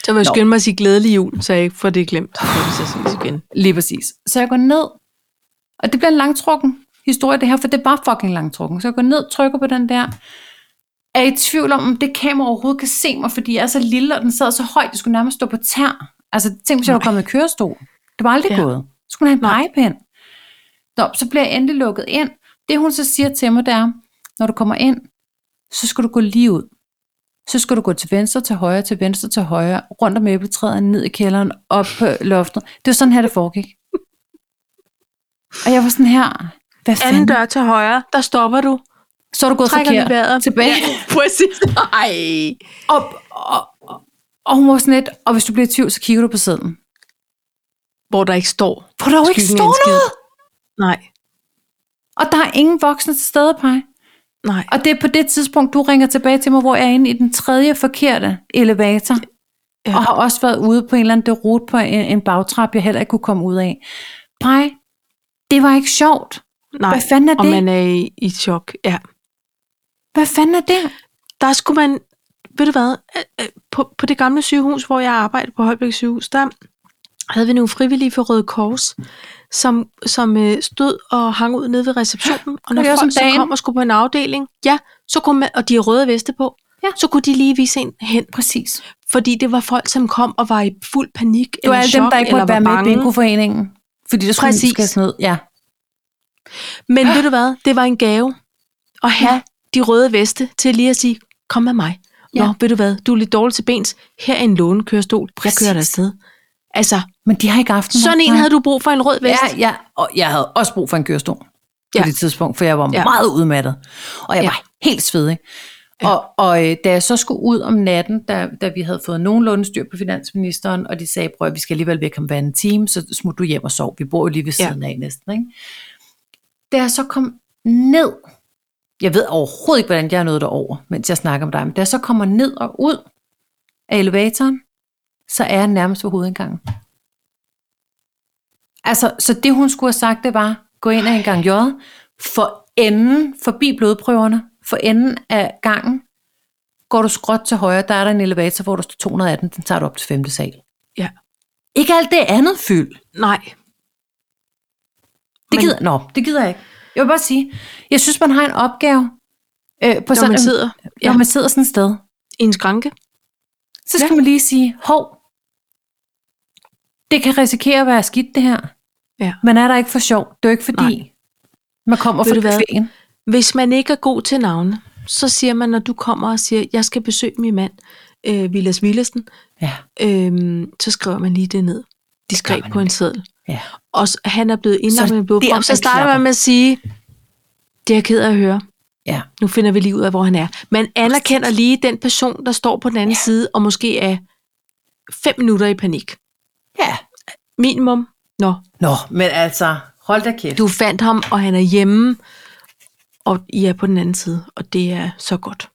A: Så vil jeg skynde mig at sige glædelig jul, så jeg ikke får det glemt, hvis jeg ses igen.
B: Lige præcis. Så jeg går ned, og det bliver en langtrukken historie, det her, for det er bare fucking langtrukken. Så jeg går ned, trykker på den der, er i tvivl om, om det kamera overhovedet kan se mig, fordi jeg er så lille, og den sad så højt, det skulle nærmest stå på tær. Altså, tænk, hvis jeg var kommet i kørestol. Det var aldrig ja. gået. Så skulle hun have en pegepind. Nå, så bliver jeg endelig lukket ind. Det hun så siger til mig, det er, når du kommer ind, så skal du gå lige ud. Så skal du gå til venstre, til højre, til venstre, til højre, rundt om æbletræet, ned i kælderen, op på loftet. Det var sådan her, det foregik. Og jeg var sådan her, hvad fanden?
A: Anden dør til højre, der stopper du.
B: Så er du gået
A: Trækker den i vejret.
B: forkert tilbage.
A: Præcis. Ej.
B: Op, og, og, og hun var sådan lidt, og hvis du bliver i tvivl, så kigger du på sædlen.
A: Hvor der ikke står.
B: For der jo ikke
A: skyggen af en
B: står
A: skid.
B: noget.
A: Nej,
B: Og der er ingen voksne til stede, Paj.
A: nej.
B: Og det er på det tidspunkt, du ringer tilbage til mig, hvor jeg er inde i den tredje forkerte elevator.
A: Ja.
B: Ja. Og har også været ude på en eller anden derute på en, en bagtrap, jeg heller ikke kunne komme ud af. Pej, det var ikke sjovt.
A: nej.
B: Hvad fanden er
A: Og
B: det?
A: man er i, i chok. Ja.
B: Hvad fanden er det?
A: Der skulle man, ved du hvad, øh, øh, på, på det gamle sygehus, hvor jeg arbejdede på Holbæk sygehus, der havde vi nogle frivillige for Røde Kors, som, som øh, stod og hang ud nede ved receptionen. Og når
B: det også om
A: folk så
B: dagen?
A: kom og skulle på en afdeling, ja, så kunne man, og de havde røde veste på,
B: Ja.
A: så kunne de lige vise en hen.
B: Præcis.
A: Fordi det var folk, som kom og var i fuld panik
B: Det var
A: eller
B: alle
A: chok,
B: dem, der ikke
A: eller
B: måtte
A: var
B: være med i
A: bange.
B: bingoforeningen. Fordi det skulle
A: Præcis.
B: skæres ned. Ja.
A: Men ved du hvad? Det var en gave at have ja.
B: Ja.
A: de røde veste til lige at sige, kom med mig. Ja. Nå,
B: Ja.
A: ved du hvad? Du er lidt dårlig til bens. Her er en lånekørestol. Jeg
B: Præcis.
A: kører dig afsted. Altså,
B: Men de har ikke aften.
A: sådan en havde du brug for en rød vest.
B: Ja, ja, og jeg havde også brug for en kørestol på
A: Ja.
B: ja. det tidspunkt, for jeg var
A: Ja.
B: ja. meget udmattet. Og jeg
A: Ja.
B: ja. var helt svedig. Ja. Og, og øh, da jeg så skulle ud om natten, da, da vi havde fået nogenlunde styr på finansministeren, og de sagde, prøv at vi skal alligevel væk om hver en time, så smut du hjem og sov. Vi bor jo lige ved
A: Ja.
B: siden ja. af næsten. Ikke? Da jeg så kom ned, jeg ved overhovedet ikke, hvordan jeg er nået derover, mens jeg snakker med dig, men da jeg så kommer ned og ud af elevatoren, så er jeg nærmest ved hovedindgangen. Altså, så det hun skulle have sagt, det var, gå ind af en gang J, for enden, forbi blodprøverne, for enden af gangen, går du skråt til højre, der er der en elevator, hvor der står 218, den tager du op til 5. sal.
A: Ja.
B: Ikke alt det andet fyld.
A: Nej.
B: Det
A: Men-
B: gider, nå, det gider jeg ikke. Jeg vil bare sige, jeg synes, man har en opgave, øh, på
A: Når
B: sådan,
A: man sidder
B: når
A: ja.
B: man sidder sådan et sted.
A: i en skranke.
B: Så skal ja. man lige sige, hov, det kan risikere at være skidt det her.
A: Ja.
B: Men er der ikke for sjov? Det er jo ikke fordi, Nej. man kommer
A: Ved
B: for
A: du hvad?
B: kvægen.
A: Hvis man ikke er god til navne, så siger man, når du kommer og siger, jeg skal besøge min mand, øh, Vilas Villesen,
B: Ja.
A: øh, så skriver man lige det ned. Diskret
B: man
A: på en seddel.
B: Ja.
A: Og s- han er blevet
B: Så
A: indlagt med en
B: der,
A: blodprop. Så
B: man
A: starter man
B: klapper.
A: med at sige, det er jeg ked af at høre.
B: ja.
A: nu finder vi lige ud af, hvor han er. Man anerkender lige den person, der står på den anden ja. side, og måske er fem minutter i panik.
B: Ja.
A: Minimum. Nå,
B: Nå, men altså, hold da kæft.
A: du fandt ham, og han er hjemme, og I er på den anden side, og det er så godt.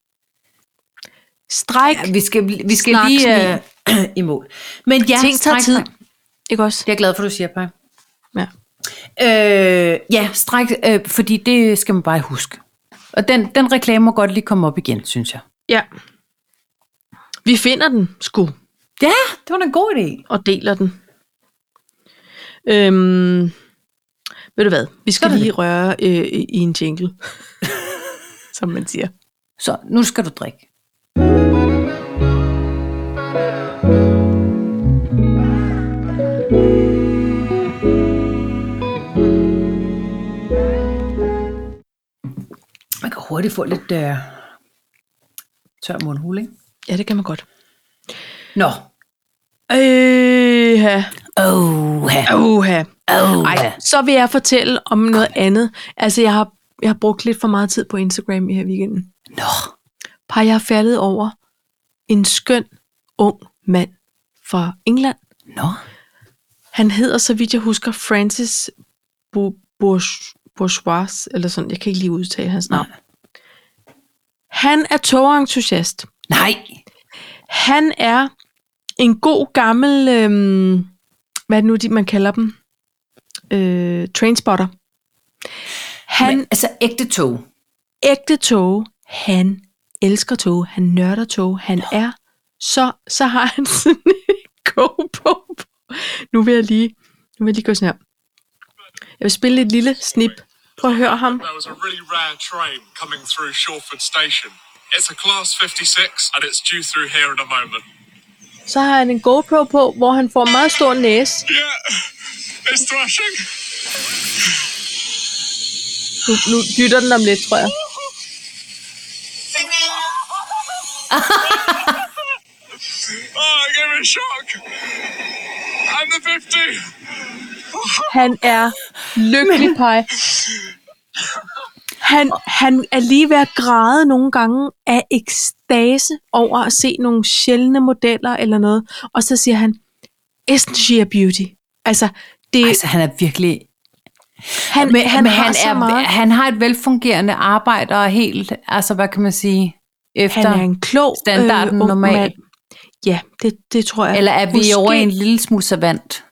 A: Stræk, ja,
B: ja, vi skal, vi skal
A: Snak,
B: lige øh, i mål. Men ja,
A: ting tager
B: stræk
A: tid.
B: dig.
A: Ikke også?
B: Det er jeg glad for, du siger, Paj.
A: Ja.
B: Øh, ja, stræk, øh, fordi det skal man bare huske. Og den, den reklame må godt lige komme op igen, synes jeg.
A: ja. Vi finder den, sgu,
B: Ja, det var da en god idé.
A: og deler den. Øhm, ved du hvad? Vi skal
B: Sådan er
A: lige røre øh, i i en jingle, som man siger.
B: Så nu skal du drikke. Man kan hurtigt få lidt øh, tør mundhul, ikke?
A: Ja, det kan man godt.
B: Nå.
A: Øh,
B: Oh, ha.
A: Oha.
B: Oh,
A: Ej, så vil jeg fortælle om noget andet. Altså, jeg har, jeg har brugt lidt for meget tid på Instagram i her weekenden.
B: Nå.
A: Par, jeg er faldet over en skøn, ung mand fra England.
B: Nå.
A: Han hedder, så vidt jeg husker, Francis Bu- Bourg- Bourgeois, eller sådan. Jeg kan ikke lige udtale hans navn. Han er togentusiast.
B: Nej.
A: Han er en god gammel, øh, hvad er det nu, de, man kalder dem? Øh, trainspotter.
B: Han, Men, altså ægte tog.
A: Ægte tog. Han elsker tog. Han nørder tog. Han Nå. er så, så har han sådan en go på. Nu vil jeg lige, nu vil jeg lige gå sådan her. Jeg vil spille et lille snip. Prøv at høre ham.
C: There was a really rare train coming through Shawford Station. It's a class 56, and it's due through here in a moment.
A: Så har han en GoPro på, hvor han får en meget stor næse.
C: Yeah, it's thrashing.
A: Nu, nu dytter den om lidt, tror jeg.
C: Oh, I gave me a shock. I'm the 50.
A: Han er lykkelig pej. Han, han er lige ved at græde nogle gange af ekstase over at se nogle sjældne modeller eller noget. Og så siger han, isn't she a beauty? Altså, det,
B: Altså, han er virkelig...
A: han,
B: Men,
A: han,
B: men
A: har
B: han,
A: så
B: er,
A: meget.
B: han har et velfungerende arbejde og er helt, altså hvad kan man sige,
A: Han
B: efter
A: er en klog øh,
B: standarden
A: ung
B: normal.
A: mand. Ja, det, det tror jeg.
B: Eller er vi
A: Måske-
B: over i en lille smule savant?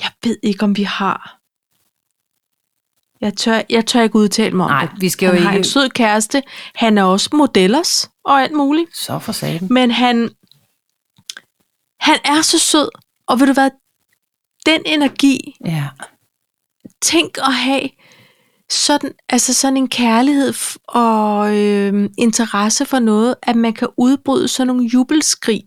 A: Jeg ved ikke, om vi har... Jeg tør, jeg tør ikke udtale mig om
B: Nej,
A: det.
B: vi skal jo
A: han har
B: ikke...
A: en sød kæreste. Han er også modellers og alt muligt.
B: Så for satan.
A: Men han, han er så sød. Og ved du hvad? Den energi,
B: Ja.
A: tænk at have sådan, altså sådan en kærlighed f- og øh, interesse for noget, at man kan udbryde sådan nogle jubelskrig.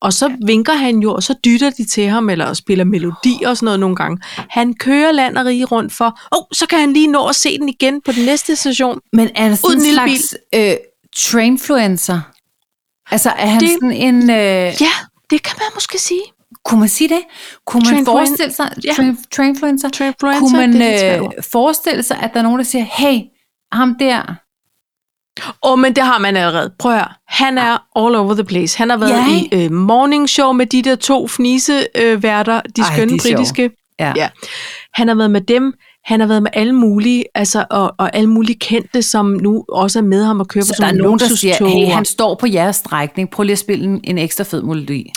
A: Og så vinker han jo, og så dytter de til ham, eller spiller melodi og sådan noget nogle gange. Han kører land og rige rundt for, åh, oh, så kan han lige nå at se den igen på den næste station.
B: Men er der
A: Ud
B: sådan
A: en
B: en
A: lille
B: slags øh, trainfluencer? Altså er han
A: Det-
B: det... sådan en... Øh,
A: Ja, det kan man måske sige.
B: Kunne man sige det? Kunne man
A: Trainfluen-
B: forestille sig...
A: Ja.
B: Train, trainfluencer?
A: Trainfluencer,
B: Kunne man
A: det er et svært ord.
B: øh, forestille sig, at der er nogen, der siger, hey, ham der...
A: Åh, oh, men det har man allerede. Prøv at høre. Han er all over the place. Han har været
B: Ja,
A: i øh, morning show med de der to fniseværter, øh, værter, de
B: Ej,
A: skønne
B: de er sjove.
A: britiske.
B: Ja.
A: Ja. Han har været med dem. Han har været med alle mulige, altså, og, og alle mulige kendte, som nu også er med ham og kører
B: Så
A: på
B: der er
A: sådan
B: nogen, der siger,
A: luksustog
B: hey,
A: og-
B: han står på jeres strækning. Prøv lige at spille en, en ekstra fed melodi.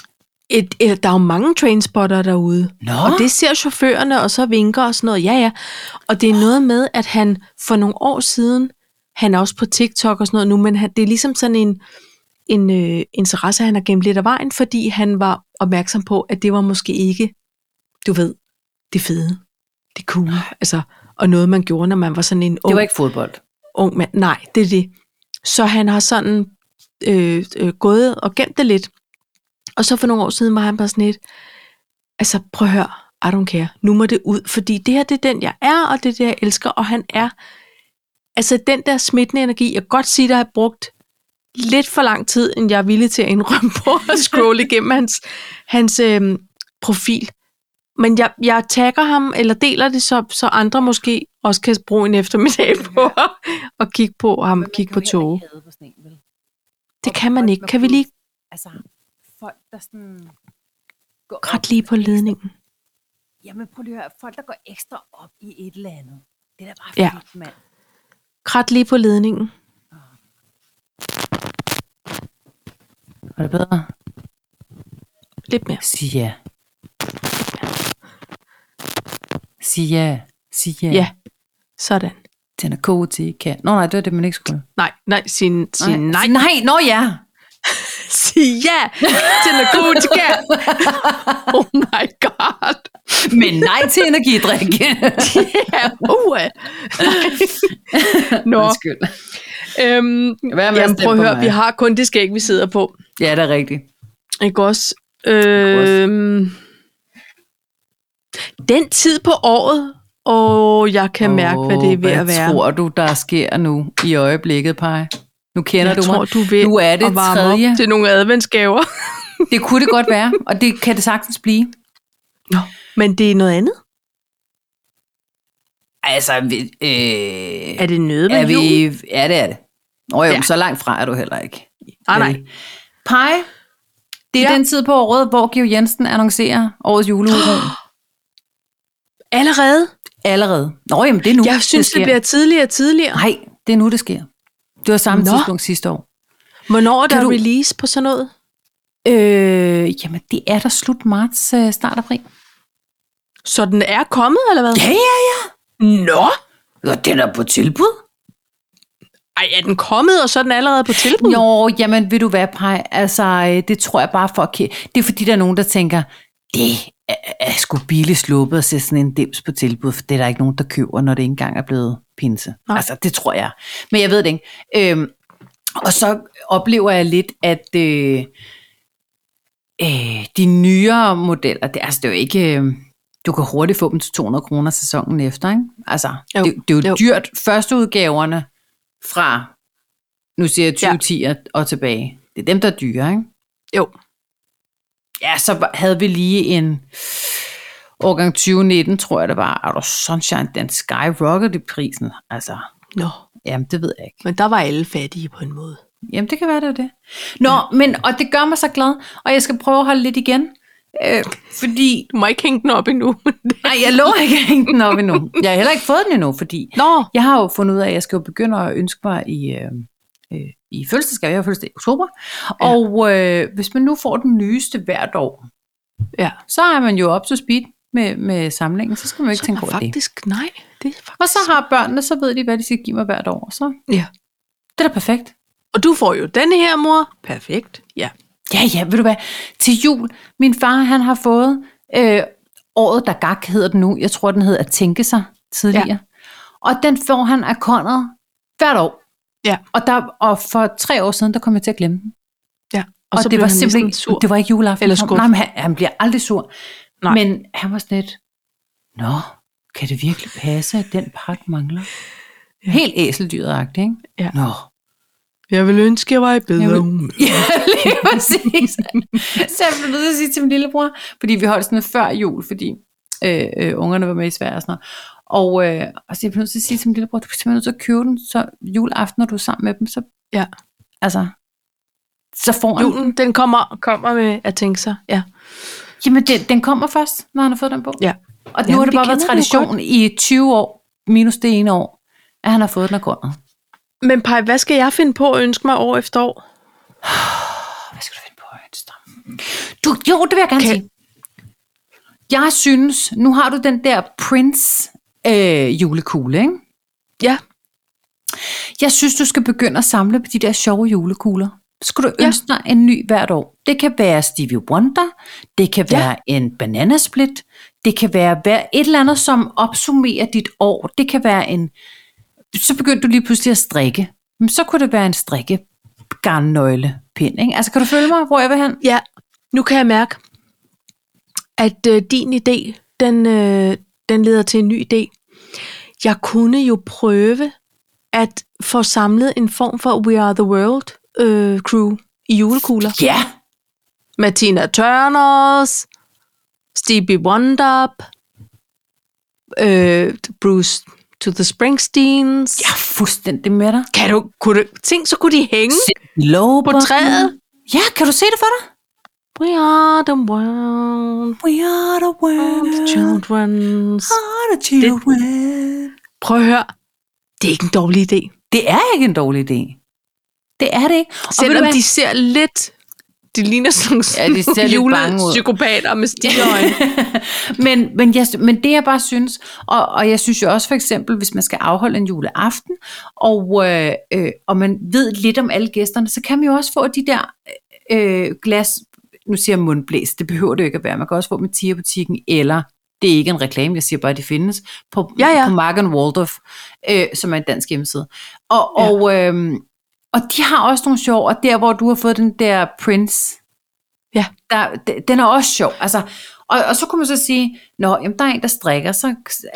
A: et, et, der er jo mange trainspotter derude.
B: Nå.
A: Og det ser chaufførerne, og så vinker og sådan noget. Ja, ja. Og det er noget med, at han for nogle år siden, han er også på TikTok og sådan noget nu, men han, det er ligesom sådan en, en øh, interesse, han har gemt lidt af vejen, fordi han var opmærksom på, at det var måske ikke, du ved, det fede, det cool, altså, og noget, man gjorde, når man var sådan en ung
B: Det var ikke fodbold.
A: ung mand. Nej, det er det. Så han har sådan øh, øh, gået og gemt det lidt. Og så for nogle år siden var han bare sådan lidt, altså prøv at høre, I don't care, nu må det ud, fordi det her, det er den, jeg er, og det er det, jeg elsker, og han er, altså den der smittende energi, jeg kan godt sige, der har brugt lidt for lang tid, end jeg er villig til at indrømme på at scrolle igennem hans, hans øh, profil. Men jeg, jeg tagger ham, eller deler det, så, så andre måske også kan bruge en eftermiddag på at, at kigge på ham, kigge på toge. Det kan man ikke. Kan vi lige
B: Altså, folk, der sådan... Går
A: krat lige på ledningen?
B: Jamen prøv lige at høre, folk der går ekstra op i et eller andet. Det er da bare
A: Ja.
B: fedt, mand.
A: Krat lige på ledningen.
B: Var det bedre?
A: Lidt mere.
B: Sig ja. Sig ja. Sig ja.
A: Ja. Sådan.
B: Den er god til kan. Nå nej, det var det, man ikke skulle.
A: Nej, nej, sig sig nej.
B: Sig nej, nå ja.
A: Sig ja til narkotika. oh my god.
B: Men nej til energidrik.
A: Ja, uh. Nå,
B: Undskyld.
A: øhm,
B: Hvad med at
A: jamen,
B: stemme
A: prøv at
B: på
A: høre,
B: mig?
A: vi har kun det skæg, vi sidder på.
B: Ja, det er rigtigt.
A: Ikke også? Øhm, den tid på året, og jeg kan mærke, hvad det er ved
B: Åh,
A: at være.
B: Hvad tror du, der sker nu i øjeblikket, Paj? Nu kender
A: jeg
B: du
A: tror,
B: mig.
A: du vil
B: nu er det
A: at varme
B: tredje.
A: op til nogle adventsgaver.
B: Det kunne det godt være, og det kan det sagtens blive.
A: Nå, men det er noget andet.
B: Altså, vi, øh,
A: Er det noget med
B: er
A: jul?
B: vi, Ja, det er det. Nå jo,
A: Ja. Ah,
B: ja. så langt fra er du heller ikke.
A: Nej, nej.
B: Vel. Pej, det er
A: Ja.
B: ja. den tid på året, hvor Georg Jensen annoncerer årets juleudgave.
A: Allerede?
B: Allerede. Nå, jamen det er nu,
A: Jeg synes, det,
B: sker.
A: det bliver tidligere og tidligere.
B: Nej, det er nu, det sker. Det var samme
A: Nå.
B: Nå. tidspunkt sidste år.
A: Hvornår er
B: Kan
A: der
B: du-
A: release på sådan noget?
B: Øh, jamen, det er der slut marts, øh, start april.
A: Så den er kommet, eller hvad?
B: Ja, ja, ja.
A: Nå!
B: Ja, den er på tilbud.
A: Ej, er den kommet, og så er den allerede på tilbud?
B: Nå, jamen, vil du være pej? Altså, øh, det tror jeg bare for at kæ- Det er fordi, der er nogen, der tænker, det er, er sgu billigt sluppet at sætte sådan en dims på tilbud, for det er der ikke nogen, der køber, når det ikke engang er blevet pinse.
A: Nej.
B: Nej. Altså, det tror jeg. Men jeg ved det ikke. Øhm, og så oplever jeg lidt, at øh, øh, de nyere modeller, det, altså, det er jo ikke... Øh, du kan hurtigt få dem til 200 kroner sæsonen efter, ikke? Altså,
A: Jo,
B: jo, det, det er jo,
A: jo.
B: jo dyrt. Førsteudgaverne fra, nu siger jeg
A: Ja.
B: 2010 ja. og tilbage, det er dem, der er dyre, ikke?
A: Jo.
B: Ja, så var- havde vi lige en årgang 2019, tror jeg det var. Er der Sunshine, den skyrocket i prisen. Altså,
A: Nå,
B: jamen det ved jeg ikke.
A: men der var alle fattige på en måde.
B: Jamen det kan være, det var det. Nå, ja. men, og det gør mig så glad, og jeg skal prøve at holde lidt igen. Øh, fordi,
A: Du må ikke hænge den op endnu.
B: nej, jeg lover ikke at hænge den op endnu. Jeg har heller ikke fået den endnu, fordi
A: Nå,
B: jeg har jo fundet ud af, at jeg skal jo begynde at ønske mig i, øh, øh, i fødselsdagsgave. Jeg har fødselsdag i oktober.
A: Ja.
B: Ja. Og øh, hvis man nu får den nyeste hvert år,
A: ja.
B: så er man jo op til speed med, med samlingen, så skal man jo ikke
A: Så er
B: tænke
A: der
B: over det.
A: faktisk, nej, det er faktisk...
B: Og så har børnene, så ved de, hvad de skal give mig hvert år. Så
A: Ja.
B: det er da perfekt.
A: Og du får jo den her, mor. Perfekt. Ja.
B: Ja, ja, ved du hvad? Til jul, min far, han har fået øh, året, der gak hedder den nu. Jeg tror, den hedder At tænke sig tidligere. Ja. Og den får han af Conrad hvert år.
A: Ja.
B: Og, der, og for tre år siden, der kom jeg til at glemme den. Og, og
A: så
B: det
A: blev
B: var
A: han næsten
B: simpelthen
A: sur.
B: Det var ikke juleaften.
A: Eller
B: han kom.
A: skuffet.
B: Nej, men han, han bliver aldrig sur.
A: Nej.
B: Nej. Men han var sådan lidt, Nå, kan det virkelig passe, at den pakke mangler?
A: Ja.
B: Ja. Helt æseldyret ikke?
A: Ja.
B: Nå.
A: Jeg vil ønske, jeg var i bedre
B: Jeg vil-
A: humør.
B: Ja, lige præcis. Så jeg blev nødt til at sige til min lillebror, fordi vi holdt sådan noget før jul, fordi øh, øh, ungerne var med i Sverige og sådan noget. Og, øh, og så jeg blev nødt til at sige til min lillebror, du er simpelthen nødt til at købe den, så juleaften, når du er sammen med dem, så,
A: Ja.
B: altså, så får han
A: Julen, den kommer, kommer med at tænke sig. Ja.
B: Jamen, den, den kommer først, når han har fået den på.
A: Ja.
B: Og nu
A: Jamen,
B: har det
A: det
B: bare været
A: kender vi jo
B: tradition i 20 år, minus det ene år, at han har fået den af grunden.
A: Men Paj, hvad skal jeg finde på at ønske mig år efter år?
B: Hvad skal du finde på, Ønster? Du, jo, det vil jeg gerne
A: Kan-
B: kan... sige. Jeg synes, nu har du den der Prince øh, julekugle, ikke?
A: Ja.
B: Jeg synes, du skal begynde at samle på de der sjove julekugler. Så Skal du
A: Ja.
B: ønske dig en ny hvert år? Det kan være Stevie Wonder, det kan
A: Ja.
B: være en bananasplit, det kan være hver- et eller andet, som opsummerer dit år. Det kan være en... Så begyndte du lige pludselig at strikke. Men så kunne det være en strikke garnnøglepind, ikke? Altså, kan du følge mig, hvor jeg vil hen?
A: Ja, nu kan jeg mærke, at øh, din idé, den, øh, den leder til en ny idé. Jeg kunne jo prøve at få samlet en form for We Are The World øh, crew i julekugler.
B: Ja!
A: Med Tina Turners, Stevie Wonder, øh, Bruce to the Springsteens.
B: Jeg er fuldstændig med dig.
A: Kan du, kunne du, tænk, så kunne de hænge
B: Low
A: Mm. på træet.
B: Ja, kan du se det for dig?
A: We are the world,
B: We are the
A: the
B: world,
A: children's.
B: are the children.
A: Prøv at høre. Det er ikke en dårlig idé.
B: Det er ikke en dårlig idé. Det er det ikke. Og
A: Selvom
B: ved du
A: de ser lidt... De ligner sådan
B: Ja, de ser lidt bange ud.
A: julepsykopater med stigeøjne.
B: hvad? men, men, jeg, men det jeg bare synes, og, og jeg synes jo også for eksempel, hvis man skal afholde en juleaften, og, øh, øh, og man ved lidt om alle gæsterne, så kan man jo også få de der øh, glas, nu siger jeg mundblæs, det behøver det jo ikke at være, man kan også få dem i Tia-butikken, eller det er ikke en reklame, jeg siger bare, at de findes, på,
A: Ja, ja.
B: på Mark Waldorf, øh, som er en dansk hjemmeside. Og,
A: Ja.
B: ja. og, øh, og de har også nogle sjove, og der hvor du har fået den der Prince,
A: Ja.
B: der, d- den er også sjov. Altså, og, og så kunne man så sige, nå, jamen, der er en, der strikker, så, så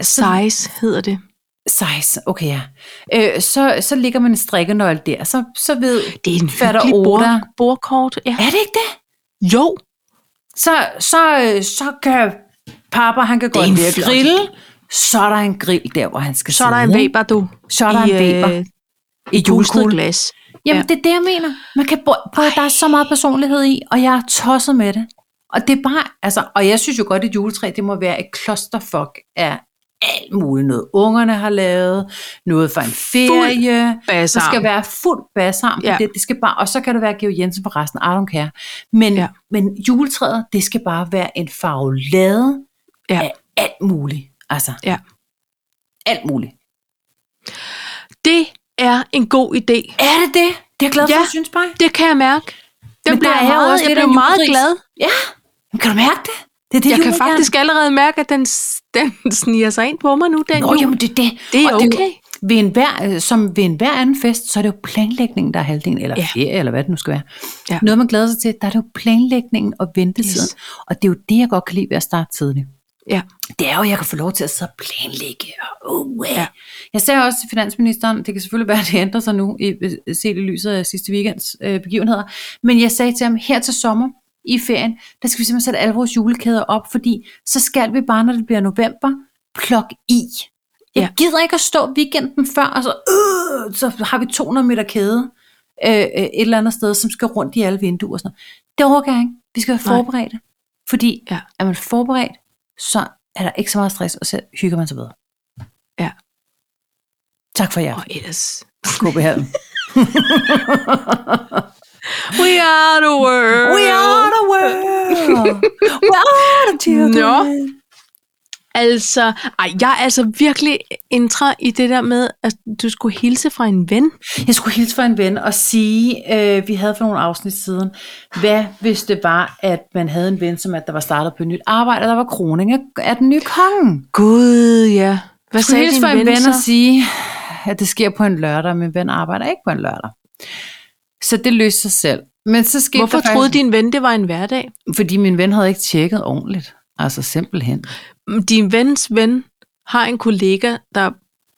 A: Size hedder det.
B: size, okay ja. Øh, så, så ligger man en strikkenøgle der, så, så ved,
A: Det er en
B: Fatter
A: hyggelig bord,
B: Oda.
A: bordkort. Ja.
B: er det ikke det?
A: Jo,
B: Så, så, øh, så kan pappa, han kan
A: er
B: godt
A: en
B: lide at
A: flot
B: grille, så er der en grill der, hvor han skal
A: så er der en
B: sidde, ikke?
A: Weber, du.
B: Så er der
A: i,
B: en Weber
A: øh,
B: i
A: pustet
B: julekuglen.
A: glas.
B: Jamen,
A: Ja.
B: ja. det er det, jeg mener. Man kan bo- prøve, der er så meget personlighed i, og jeg er tosset med det. Og det er bare, altså, og jeg synes jo godt, at et juletræ, det må være et clusterfuck af, af alt muligt. Noget ungerne har lavet, noget for en ferie.
A: bassarm.
B: Der skal være fuld bassarm.
A: Ja.
B: Ja. Det, det skal bare, og så kan det være Georg Jensen på resten. I don't care. Men,
A: Ja.
B: ja. men juletræet, det skal bare være en farvelade
A: Ja.
B: ja. af alt muligt. Altså,
A: Ja.
B: alt muligt.
A: Det er en god idé.
B: Er det det? Det er jeg glad for,
A: Ja.
B: ja. synes bare.
A: Det kan jeg mærke. Den
B: Men
A: bliver
B: der
A: jeg
B: er jo
A: meget,
B: også
A: jeg
B: lidt
A: blev
B: af en
A: meget
B: julegris.
A: glad.
B: Ja. Men Kan du mærke det? Det er det,
A: Jeg
B: jul
A: kan
B: gerne-
A: faktisk allerede mærke, at den, s- den sniger sig ind på mig nu, den
B: Nå,
A: jul.
B: jamen det er det.
A: Det er
B: Og jo-
A: okay.
B: ved en hver, øh, som ved en hver anden fest, så er det jo planlægningen, der er halvdelen, eller
A: Ja.
B: ja. ferie, eller hvad det nu skal være.
A: Ja.
B: Ja. Noget, man glæder sig til, der er det jo planlægningen og ventetiden.
A: Yes.
B: Yes. Og det er jo det, jeg godt kan lide ved at starte tidligt.
A: Ja.
B: Det er jo, at jeg kan få lov til at sidde og planlægge. Og, oh,
A: Ja.
B: ja. Jeg sagde også til finansministeren, det kan selvfølgelig være, at det ændrer sig nu, i, øh, set i lyset af sidste weekends øh, begivenheder, men jeg sagde til ham, her til sommer, i ferien, der skal vi simpelthen sætte alle vores julekæder op, fordi så skal vi bare, når det bliver november, plukke i. Jeg
A: Ja.
B: ja. gider ikke at stå weekenden før, og så, øh, så har vi 200 meter kæde øh, øh, et eller andet sted, som skal rundt i alle vinduer. Og sådan noget. Det overgår jeg ikke. Vi skal
A: Nej.
B: være forberedte. Fordi
A: Ja.
B: ja. er man forberedt, så er der ikke så meget stress, og så hygger man sig bedre.
A: Ja.
B: Tak for jer.
A: Og ellers...
B: God behagen.
A: We are the world.
B: We are the world. We are the children. No.
A: Altså, ej, jeg er altså virkelig intra i det der med, at du skulle hilse fra en ven.
B: Jeg skulle hilse fra en ven og sige, øh, vi havde for nogle afsnit siden, hvad hvis det var, at man havde en ven, som at der var startet på et nyt arbejde, og der var kroning af, af den nye konge.
A: Gud, ja. Hvad
B: Jeg skulle
A: sagde
B: hilse
A: din
B: fra en
A: ven,
B: ven og
A: så?
B: sige, at det sker på en lørdag, men ven arbejder ikke på en lørdag. Så det løste sig selv. Men så skete
A: Hvorfor
B: der
A: troede din ven, det var en hverdag?
B: din? Fordi min ven havde ikke tjekket ordentligt. Altså simpelthen.
A: Din vens ven har en kollega, der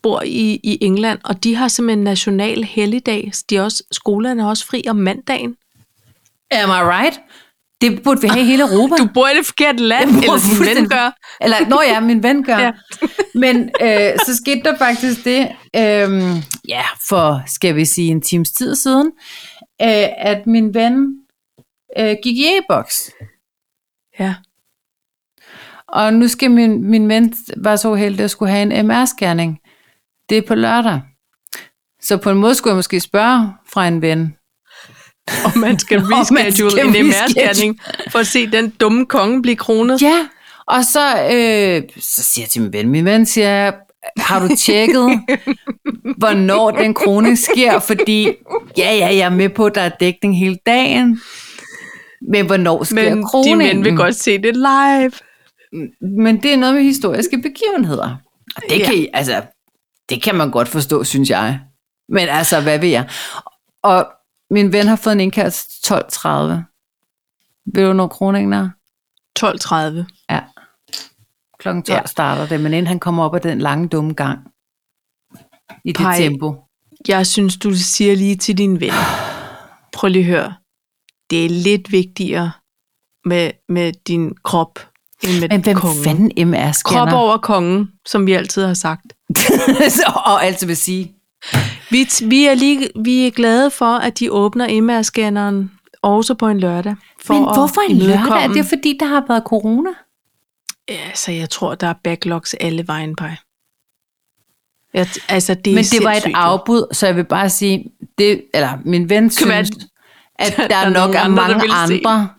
A: bor i, i England, og de har simpelthen national helligdag. så De er også, skolerne er også fri om mandagen.
B: Am I right? Det burde vi have i hele Europa.
A: Du bor i det forkerte land,
B: Jeg bor
A: eller din ven
B: fuldstændig-
A: gør.
B: Eller, nå ja, min ven gør.
A: Ja.
B: ja. Men øh, så skete der faktisk det, øh, ja, for skal vi sige en times tid siden, øh, at min ven øh, gik i e-boks.
A: Ja.
B: Og nu skal min, min ven var så heldig at skulle have en MR-scanning. Det er på lørdag. Så på en måde skulle jeg måske spørge fra en ven.
A: Og man skal reschedule
B: skal
A: en
B: reschedule.
A: MR-scanning for at se den dumme konge blive kronet.
B: Ja, og så, øh, så siger jeg til min ven, min ven siger, har du tjekket, hvornår den kroning sker? Fordi, ja, ja, jeg er med på, at der er dækning hele dagen. Men hvornår sker
A: Men din
B: kroningen?
A: ven vil godt se det live.
B: Men det er noget med historiske begivenheder. Og det
A: Ja.
B: kan, I- altså, det kan man godt forstå, synes jeg. Men altså, hvad ved jeg? Og min ven har fået en indkaldelse til 12.30. Ved du, når kroningen er?
A: 12.30.
B: Ja. Klokken 12
A: Ja.
B: ja. starter det, men inden han kommer op ad den lange dumme gang. I det
A: Pej.
B: Pej. tempo.
A: Jeg synes, du siger lige til din ven. Prøv lige at høre. Det er lidt vigtigere med, med din krop, end med
B: Men hvem
A: kongen.
B: fanden MR
A: Krop
B: scanner?
A: over kongen, som vi altid har sagt.
B: og altså vil sige,
A: Vi, t- vi, er lige, vi er glade for, at de åbner MR-scanneren også på en lørdag. For
B: men
A: at
B: hvorfor en lørdag? Er
A: imødekomme-
B: det fordi, der har været corona?
A: Ja, så jeg tror, der er backlogs alle vejen på. Jeg, t- altså, det er
B: Men det var et
A: sindssygt, jo.
B: afbud, så jeg vil bare sige, det, eller min ven
A: kan være,
B: synes, at der,
A: der er
B: er nok
A: nogle
B: er
A: andre, der
B: mange
A: vil se den.
B: andre,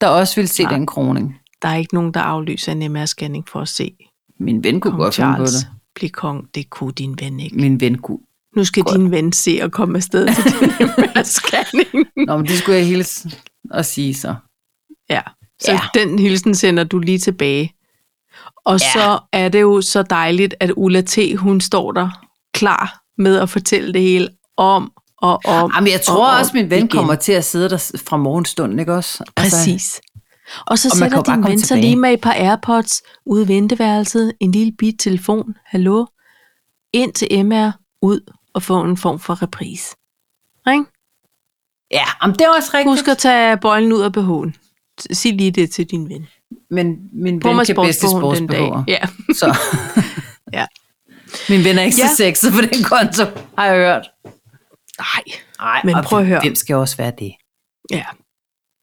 B: der også vil se
A: Nej.
B: den kroning.
A: Der er ikke nogen, der aflyser en MR-scanning for at se
B: Min ven kunne
A: kong
B: godt finde på det.
A: Charles blive kong. Det kunne din ven ikke.
B: Min ven kunne.
A: Nu skal din ven se at komme afsted til din MR-scanning.
B: Nå, men det skulle jeg hilse og sige så.
A: Ja, så ja.
B: Ja.
A: den hilsen sender du lige tilbage. Og ja. så er det jo så dejligt, at Ulla T. hun står der klar med at fortælle det hele om og om.
B: Jamen, jeg tror
A: og
B: også,
A: om
B: min ven
A: igen.
B: igen. kommer til at sidde der s- fra morgenstunden, ikke også? Altså,
A: Præcis. Og så
B: Og man
A: sætter
B: kan jo bare
A: din
B: komme
A: ven sig
B: tilbage.
A: lige med et par Airpods ude i venteværelset, en lille bit telefon, hallo, ind til MR, ud og få en form for repris. Ring?
B: ja, jamen, det er også rigtigt.
A: Husk at tage bøjlen ud af BH'en. Sig lige det til din ven.
B: Men min
A: På
B: ven
A: med
B: kan bedste
A: sportsbogen den dag.
B: sportsbehover.
A: Ja.
B: Så.
A: Ja.
B: Min ven er ikke ja.
A: Ja.
B: så sexet på den konto, har jeg hørt.
A: Nej.
B: Ej,
A: Men
B: og
A: prøv at høre.
B: Hvem skal også være det?
A: Ja.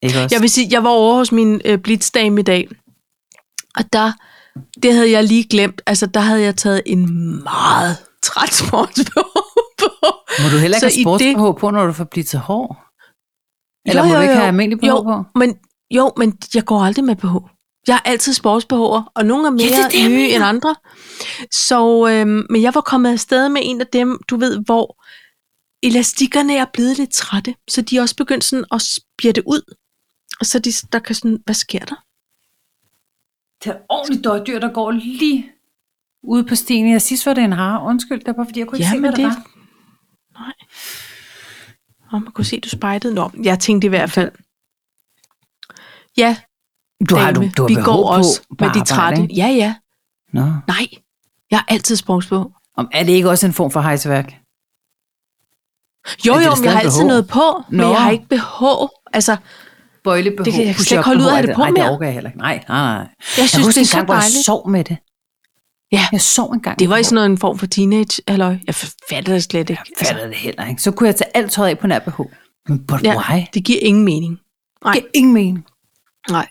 B: Ikke også?
A: Jeg vil sige, jeg var over hos min øh, blitzdame i dag, og der Det havde jeg lige glemt. Altså, der havde jeg taget en meget træt sportsbh på.
B: Må du heller ikke
A: Så
B: have
A: i
B: sportsbh det... på, når du får blivet til hår? Eller
A: Jo,
B: må
A: jo,
B: du ikke
A: jo.
B: have almindelig BH
A: jo,
B: på?
A: Men, jo, men jeg går aldrig med BH. Jeg har altid sportsbehover, og nogle er mere
B: det er
A: ja,
B: det, jeg
A: det, nye
B: mener.
A: end andre. Så, øhm, men jeg var kommet afsted med en af dem, du ved, hvor elastikkerne er blevet lidt trætte, så de er også begyndt sådan at spjætte ud. Og så de, der kan sådan, hvad sker der?
B: Det er ordentligt døjdyr, der går lige ude på stien. Jeg sidst var det en hare. Undskyld, det var bare fordi, jeg kunne ikke
A: Ja,
B: se,
A: men
B: hvad det
A: det-
B: var.
A: Og man kunne se, du spejtede. Nå, jeg tænkte i hvert fald. Ja,
B: Du har, du,
A: dame,
B: du har
A: vi
B: behov
A: går
B: på,
A: også
B: på
A: med de trætte.
B: Ikke?
A: Ja, ja.
B: Nå.
A: Nej, jeg har altid sportsbehov.
B: Om, er det ikke også en form for hejseværk?
A: Jo,
B: Men det er
A: jo,
B: da
A: men jeg har
B: stadig
A: altid
B: BH.
A: noget på, men
B: Nå.
A: jeg har ikke BH. Altså,
B: Bøjle behov,
A: Det kan jeg slet ikke holde ud at have det på
B: Nej, det
A: mere.
B: orker jeg heller ikke. Nej, nej, nej. Jeg,
A: jeg synes,
B: husker
A: det er
B: en
A: så
B: gang, hvor jeg
A: dejligt.
B: sov med det.
A: Ja.
B: Jeg sov en gang.
A: Det var i sådan noget, en form for teenage, eller jeg fatter det slet ikke.
B: Jeg fattede det heller ikke. Så kunne jeg tage alt tøjet af på nær behov. Men but
A: Altså, Ja.
B: why?
A: det giver ingen mening.
B: Det giver ingen mening.
A: Nej.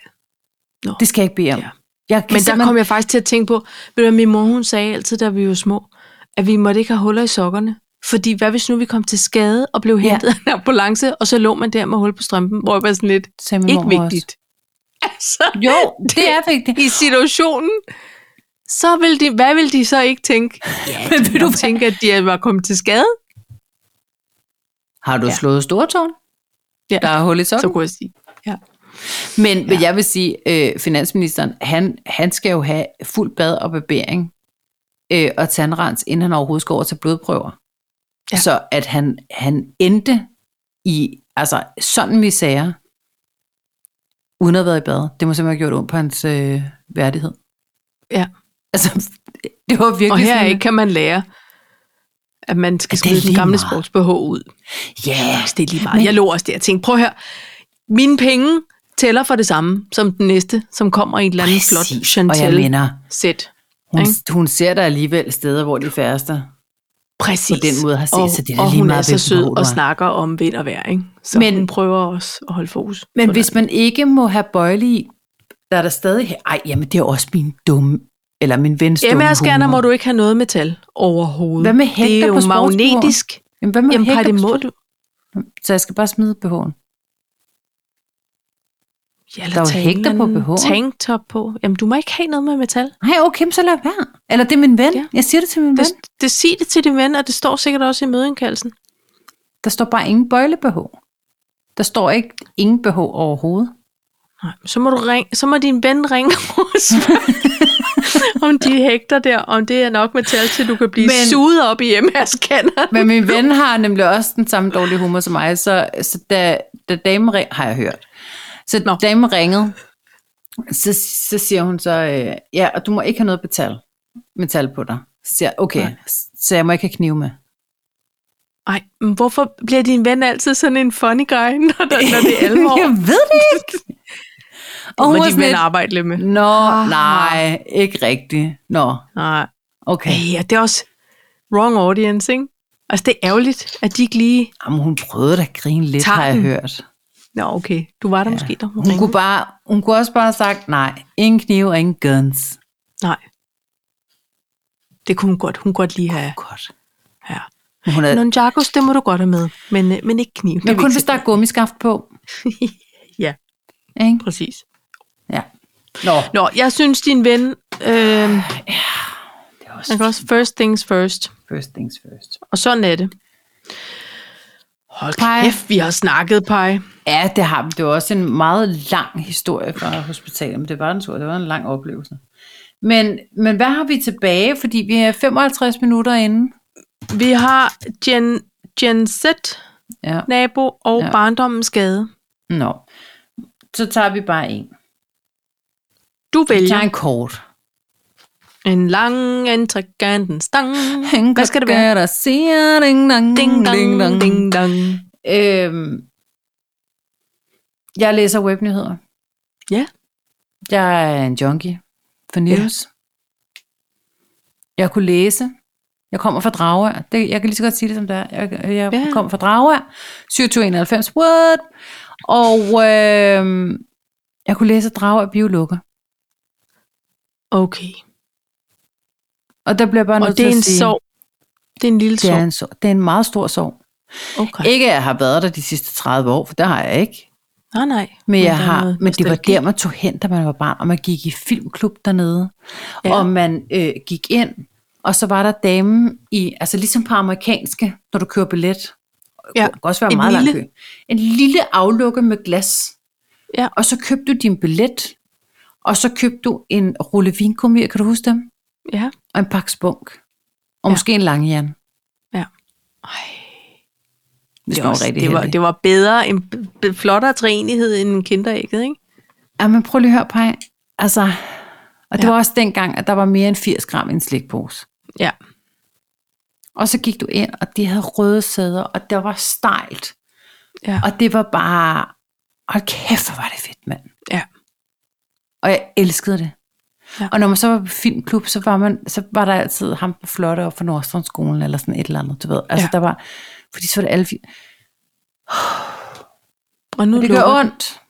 B: Det skal jeg ikke bede om.
A: Ja.
B: Jeg kan
A: Men der
B: simpelthen-
A: kom jeg faktisk til at tænke på, ved du, hvad, min mor hun sagde altid, da vi var små, at vi måtte ikke have huller i sokkerne. Fordi hvad hvis nu vi kom til skade og blev
B: Ja.
A: hentet af en ambulance, og så lå man der med hul på strømpen, hvor jeg var sådan lidt,
B: sagde min
A: ikke
B: mormor også.
A: vigtigt. Altså,
B: Jo, det er vigtigt.
A: i situationen, så vil de, hvad vil de så ikke tænke? Ja,
B: Men vil
A: vil
B: du
A: du
B: hvad?
A: tænke, at de var kommet til skade?
B: Har du ja. slået stortårn?
A: Ja.
B: Der er hul i
A: Så
B: sokken.
A: kunne jeg sige. Ja.
B: Men, ja. men jeg vil sige, øh, finansministeren, han, han skal jo have fuld bad og barbering øh, og tandrens, inden han overhovedet skal over til blodprøver. Ja.
A: Ja.
B: Så at han, han endte i altså sådan misære, uden at have været i bad. Det må simpelthen have gjort ondt på hans øh, værdighed.
A: Ja.
B: Altså, det var virkelig
A: Og her
B: sådan,
A: ikke kan man lære, at man skal
B: At det er
A: smide den
B: lige
A: gamle
B: meget.
A: sportsbh ud.
B: Ja, yeah,
A: Det er lige meget. Jeg lå også der og tænkte, prøv her, mine penge tæller for det samme, som den næste, som kommer i et eller andet flot
B: Og jeg
A: Chantel
B: mener,
A: sæt.
B: hun,
A: Ikke?
B: hun ser der alligevel steder, hvor de færreste
A: Præcis.
B: På den måde har set,
A: og,
B: så det er da
A: og
B: lige
A: hun
B: meget,
A: er så
B: hvilken
A: sød
B: behov du
A: og
B: har.
A: snakker om vind og vejr, ikke? Så
B: Men-
A: Men, hun prøver også at holde fokus.
B: Men
A: på
B: hvis man ikke må have bøjle i, der er der stadig her. Ej, jamen det er også min dumme, eller min vens
A: det.
B: dumme
A: MR-scanner
B: humor.
A: må du ikke have noget metal overhovedet.
B: Hvad med
A: Det
B: hægter
A: er
B: på
A: jo
B: sportsbehov?
A: magnetisk.
B: Jamen, hvad med
A: Jamen, par,
B: hægter
A: det må
B: på sport?
A: du.
B: Så jeg skal bare smide BH'en.
A: Ja, eller
B: Der er jo
A: tage en
B: hægter
A: eller
B: på
A: anden
B: BH'en.
A: Tanktop på. Jamen, du må ikke have noget med metal.
B: Nej, okay, men så lad være. Eller det er min ven. Ja.
A: Ja.
B: Jeg siger det til min
A: Det,
B: ven.
A: det sig det til din ven, og det står sikkert også i mødeindkaldelsen.
B: Der står bare ingen bøjle BH. Der står ikke ingen BH overhovedet.
A: Nej, så må, du ringe, så må din ven ringe og spørge, om de hægter der, om det er nok metal til, du kan blive
B: Men-
A: Men... suget op i MR-scanneren.
B: Men min ven har nemlig også den samme dårlige humor som mig, så, så da, da damen ring, har jeg hørt. Så Nå.
A: Nå.
B: damen ringede, så, så siger hun så, øh, ja, og du må ikke have noget metal, metal på dig. Så siger jeg, okay,
A: Nej.
B: så jeg må ikke have knive med.
A: Nej, men hvorfor bliver din ven altid sådan en funny guy, når, der, når det er alvor?
B: jeg ved det ikke. og hun
A: må
B: var
A: din
B: sådan
A: ven
B: lidt,
A: arbejde lidt med. Ah.
B: nå, nej, ikke rigtigt. Nå,
A: Nej.
B: okay.
A: Ej, ja, det er også wrong audience, ikke? Altså, det er ærgerligt, at de ikke lige...
B: Jamen, hun prøvede da at grine lidt,
A: Tager
B: har jeg
A: den.
B: hørt.
A: Nå, okay. Du var der ja. måske, da hun,
B: Hun kunne, bare, hun kunne også bare have sagt, nej, ingen knive og ingen guns.
A: Nej. Det kunne hun godt. Hun kunne godt lige have.
B: Godt.
A: Ja.
B: Men Hun er,
A: Nonjakos, det må du godt have med, men, øh, men ikke kniv.
B: men kun hvis der er gummiskaft på.
A: Ja,
B: Ikke?
A: præcis.
B: Ja. Nå,
A: Nå, jeg synes, din ven... Øh,
B: det er
A: man
B: også
A: kan også first things first.
B: first things first.
A: Og sådan er det. Hold
B: Pej.
A: kæft, vi har snakket, Paj.
B: Ja, det har vi. Det var også en meget lang historie fra hospitalet, men det var en tur. Det var en lang oplevelse. Men, men hvad har vi tilbage? Fordi vi er 55 minutter inde.
A: Vi har Gen, Gen Z,
B: Ja.
A: nabo og
B: Ja.
A: ja. barndommens skade.
B: Nå. Så tager vi bare en.
A: Du
B: Vi
A: vælger
B: tager en kort.
A: en lang, en trekanten stang. Hvad skal det være?
B: Der siger ding, dang,
A: Ding dong, ding dong.
B: Øhm, jeg læser webnyheder.
A: Ja.
B: Jeg er en junkie for news. Ja. Jeg kunne læse. Jeg kommer fra Dragør. Det, jeg kan lige så godt sige det, som det er. Jeg, jeg ja.
A: Ja.
B: kommer fra Dragør. 2791, what? Og øhm, jeg kunne læse, at Dragør biolukker.
A: Okay.
B: Og der bliver jeg bare
A: Og det
B: nødt til
A: er en
B: at sige,
A: sorg. Det er en lille
B: det er
A: sorg.
B: en sorg. Det er en meget stor sorg.
A: Okay.
B: Ikke at jeg har været der de sidste 30 år, for det har jeg ikke.
A: Nej, nej.
B: Men,
A: der
B: jeg
A: er
B: har,
A: noget
B: men det var
A: nostalgi.
B: der, man tog hen, da man var barn, og man gik i filmklub dernede,
A: Ja.
B: ja. og man øh, gik ind, og så var der damen i, altså ligesom på amerikanske, når du kører billet,
A: Ja.
B: det kan også
A: En
B: være en meget
A: lille-
B: lang kø, en lille aflukke med glas,
A: Ja.
B: og så købte du din billet, og så købte du en rulle vinkummier, kan du huske dem?
A: Ja.
B: Og en pakke spunk, og
A: Ja.
B: ja. måske en langjern,
A: Ej,
B: hvis
A: det,
B: man
A: var,
B: var rigtig
A: det, var,
B: heldig.
A: det var bedre, en b- b- flottere træenighed end en kinderægget, ikke?
B: Ja, men prøv lige at høre, Paj. Altså, og det
A: Ja.
B: ja. var også dengang, at der var mere end 80 gram i en slikpose.
A: Ja.
B: Og så gik du ind, og det havde røde sæder, og der var stejlt.
A: Ja.
B: Og det var bare, hold kæft, hvor var det fedt, mand.
A: Ja.
B: Og jeg elskede det.
A: Ja.
B: Ja. Og når man så var på filmklub, så var, man, så var der altid ham på flotte og fra Nordstrandskolen, eller sådan et eller andet, du ved. Altså,
A: Ja.
B: ja. der var, fordi så var det alle, fi-
A: Og nu
B: det
A: lukker
B: gør
A: den,
B: ondt.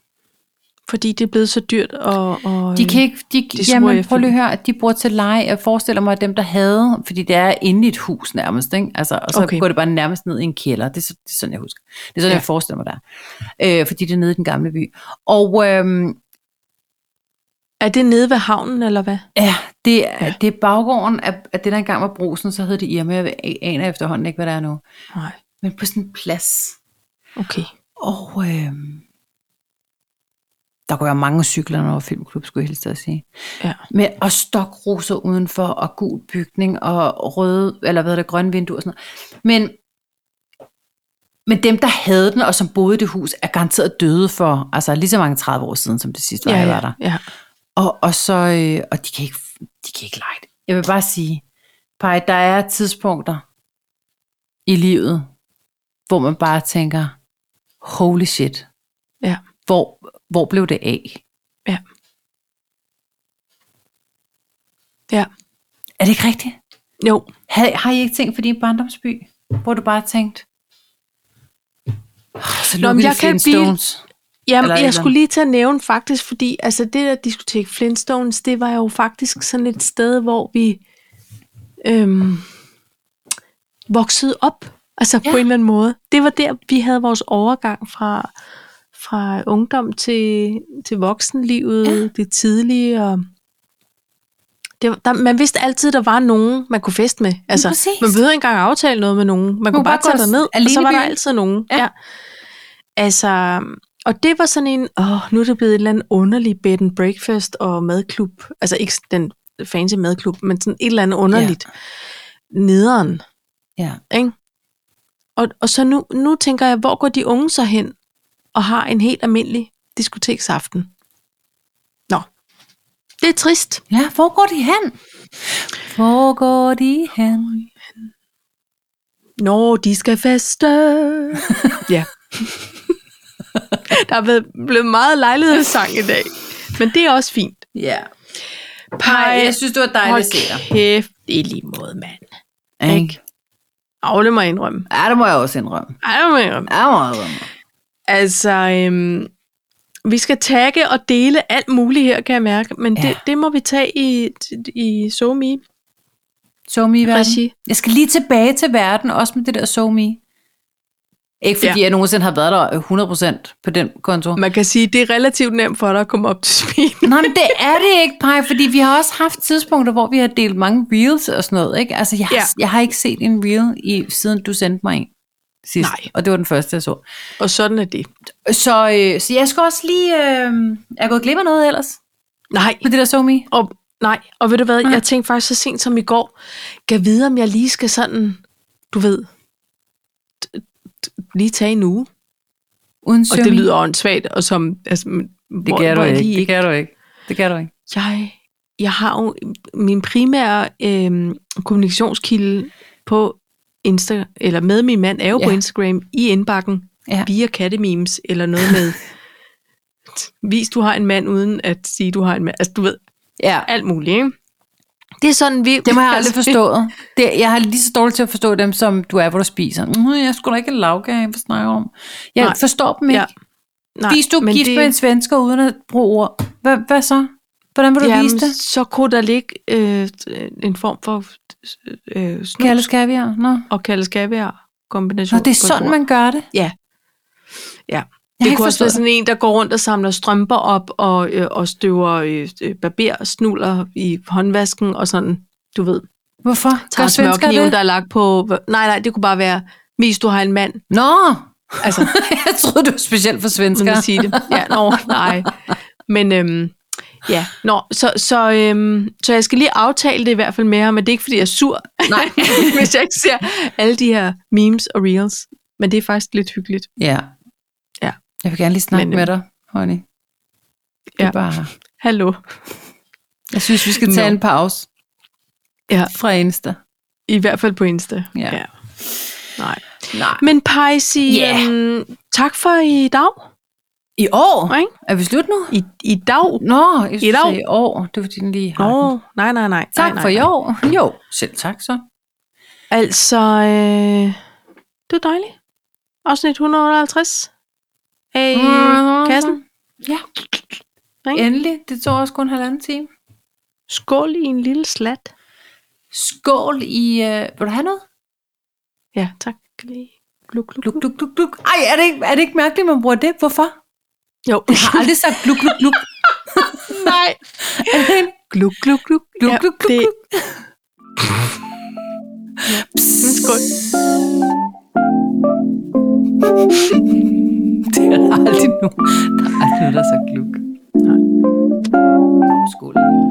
A: fordi det er blevet så dyrt. Og, og, øh,
B: De kan ikke, de,
A: er
B: de
A: sure
B: jamen,
A: efter
B: prøv lige at
A: dem.
B: høre, at de bruger til leje. Jeg forestiller mig, at dem, der havde, fordi det er inde i et hus nærmest, ikke? Altså, og så
A: Okay.
B: okay. går det bare nærmest ned i en kælder. Det er, så- det er sådan, jeg husker. Det er sådan,
A: Ja.
B: ja. jeg forestiller mig der. Øh, fordi det er nede i den gamle by. Og øhm,
A: Er det nede ved havnen, eller hvad?
B: ja, det er,
A: Ja.
B: ja. det er baggården af, af det, der engang var brusen, så hed det Irma. Jeg aner efterhånden ikke, hvad der er nu.
A: Nej,
B: Men på sådan en plads.
A: okay.
B: Og øh, der går jo mange cykler over filmklub, skulle jeg helst at sige.
A: Ja.
B: Med, og stokroser udenfor, og gul bygning, og røde, eller hvad hedder det, grønne vinduer og sådan noget. Men, men dem, der havde den, og som boede i det hus, er garanteret døde for, altså lige så mange 30 år siden, som det sidste var,
A: ja,
B: jeg var der.
A: ja, ja.
B: Og, og så, øh, og de kan ikke, de kan ikke lege det. Jeg vil bare sige, Paj, der er tidspunkter i livet, hvor man bare tænker, holy shit,
A: Ja.
B: hvor, hvor blev det af?
A: Ja. Ja.
B: Er det ikke rigtigt?
A: Jo,
B: Har, har I ikke tænkt på din barndomsby, hvor du bare tænkte, "Åh, så
A: Nå,
B: Nå,
A: men
B: jeg
A: jeg kan
B: kan
A: blive-
B: Stones.
A: Jamen,
B: Eller et
A: jeg
B: eller
A: skulle lige til at nævne faktisk, fordi altså det der diskotek Flintstones, det var jo faktisk sådan et sted, hvor vi øhm, voksede op, altså ja. på en
B: Ja.
A: eller anden måde. Det var der, vi havde vores overgang fra, fra ungdom til, til voksenlivet, ja.
B: Ja.
A: det tidlige. Og det, var- der, man vidste altid, der var nogen, man kunne feste med. Altså,
B: præcis.
A: man behøvede ikke engang aftale noget med nogen. Man, man kunne bare,
B: bare
A: bare
B: gå
A: tage derned, og
B: alene
A: så
B: i
A: var der
B: byen.
A: altid nogen.
B: Ja.
A: Altså, og det var sådan en, åh, nu er det blevet en eller anden underlig bed and breakfast og madklub. Altså ikke den fancy madklub, men sådan et eller andet underligt. Ja. Nederen,
B: Ja.
A: ikke? Og, og så nu, nu tænker jeg, hvor går de unge så hen og har en helt almindelig diskoteksaften? Nå, det er trist.
B: ja, hvor går de hen? Hvor går de hen?
A: Når de skal feste. ja. Der er blevet, blevet meget lejlighedssang i dag. Men det er også fint.
B: Ja.
A: Pej,
B: Nej, jeg synes, det var dejligt at se dig.
A: Hold kæft, i lige måde, mand. Ikke?
B: Ikke?
A: Agle mig indrømme.
B: Ja, det må jeg også indrømme.
A: Ej, det må jeg indrømme.
B: Ja, det må jeg indrømme.
A: Altså, øhm, vi skal tagge og dele alt muligt her, kan jeg mærke. Men ja.
B: Ja.
A: det, det må vi tage i, i SoMe.
B: SoMe i verden.
A: Regi.
B: Jeg skal lige tilbage til verden, også med det der SoMe. Ikke fordi
A: Ja.
B: ja. jeg nogensinde har været der 100% på den konto.
A: Man kan sige, det er relativt nemt for dig at komme op til spil.
B: Nå, men det er det ikke, Paj, fordi vi har også haft tidspunkter, hvor vi har delt mange reels og sådan noget. Ikke? Altså, jeg, har,
A: Ja.
B: ja. jeg har ikke set en reel, i, siden du sendte mig en sidst.
A: Nej.
B: Og det var den første, jeg så.
A: Og sådan er det.
B: Så, øh, så jeg skal også lige... Øh, jeg er gået glip af noget ellers
A: Nej,
B: på det der SoMe.
A: og, nej. og ved du hvad,
B: Nej.
A: jeg tænkte faktisk så sent som i går, kan vide, om jeg lige skal sådan, du ved, t- t- lige tage en uge.
B: Uden
A: Og
B: SoMe.
A: det lyder åndssvagt, og som, altså, men
B: Det
A: hvor-
B: kan du
A: hvor jeg
B: ikke.
A: lige
B: Det kan du ikke. Det kan du ikke.
A: jeg, jeg har jo min primære øh, kommunikationskilde på Insta, eller med min mand, er jo ja. på
B: Ja.
A: Instagram i indbakken ja.
B: Ja.
A: via kattememes, eller noget med, vis du har en mand, uden at sige, du har en mand. Altså, du ved,
B: Ja.
A: alt muligt, ikke? Det er sådan, vi...
B: Det må jeg aldrig forstået. Det, jeg har lige så dårligt til at forstå dem, som du er, hvor du spiser. Mm, jeg skulle da ikke have lavkage, hvad snakker du om? Jeg
A: Nej.
B: Nej. forstår dem ikke.
A: Ja.
B: Ja. Hvis du er
A: altså, men
B: gift det... med en svensker uden at bruge ord, hvad, hvad så? Hvordan vil du Jamen, vise det?
A: så kunne der ligge øh, en form for øh, snus
B: Kaldes kaviar? Nå.
A: og kaldeskaviar kombination.
B: Nå, det er
A: på et
B: sådan,
A: bord.
B: man gør det.
A: Ja. Ja.
B: Jeg har
A: Det
B: ikke
A: kunne også være
B: forstået det.
A: sådan en, der går rundt og samler strømper op og, øh, og støver øh, øh, barbersnuller i håndvasken og sådan, du ved.
B: Hvorfor? Gør
A: Tager
B: svensker
A: smørkniven,
B: det?
A: der er lagt på... Nej, nej, det kunne bare være, hvis du har en mand,
B: Nå!
A: Altså.
B: jeg troede, du var specielt for
A: uden
B: svenskere.
A: at sige det. Ja, nå, nej. Men øhm, ja, nå, så, så, øhm, så jeg skal lige aftale det i hvert fald med ham, men det er ikke, fordi jeg er sur,
B: Nej.
A: hvis jeg ikke ser alle de her memes og reels. Men det er faktisk lidt hyggeligt.
B: ja.
A: Ja.
B: Jeg vil gerne lige snakke
A: Men, øh,
B: Men, med dig, honey. Det er
A: ja.
B: bare...
A: Hallo.
B: Jeg synes, vi skal tage
A: Nå.
B: en pause
A: Ja.
B: fra Insta.
A: I hvert fald på Insta.
B: Ja.
A: Nej.
B: Nej.
A: Men Pejsi,
B: Ja.
A: yeah. øhm, tak for i dag.
B: I år?
A: Ikke?
B: Er vi slut nu?
A: I, i dag?
B: Nå, jeg
A: I
B: synes,
A: dag.
B: i år. Det var din lige har den.
A: Nå, nej, nej, nej.
B: Tak
A: nej, nej,
B: for i
A: nej.
B: år. Jo, selv tak så.
A: Altså, øh, det er dejligt. Afsnit 158
B: Øh,
A: af mm. kassen.
B: Ja.
A: Ikke?
B: Endelig. Det tog også kun halvanden time.
A: Skål i en lille slat.
B: Skål i... Øh, vil du have noget?
A: Ja, tak. Kan lige- Gluk, gluk,
B: Gluk,
A: gluk.
B: gluk, gluk, gluk. Ej, er det, ikke, er det ikke mærkeligt, man bruger det? Hvorfor?
A: Jo,
B: Jeg har aldrig sagt gluk, gluk, gluk.
A: nej. gluk, gluk, gluk.
B: Gluk,
A: Ja,
B: gluk, gluk,
A: det-
B: gluk.
A: Mm, Skål.
B: Det er der aldrig nogen. Der er aldrig nogen, der har sagt gluk. Nej. Skål.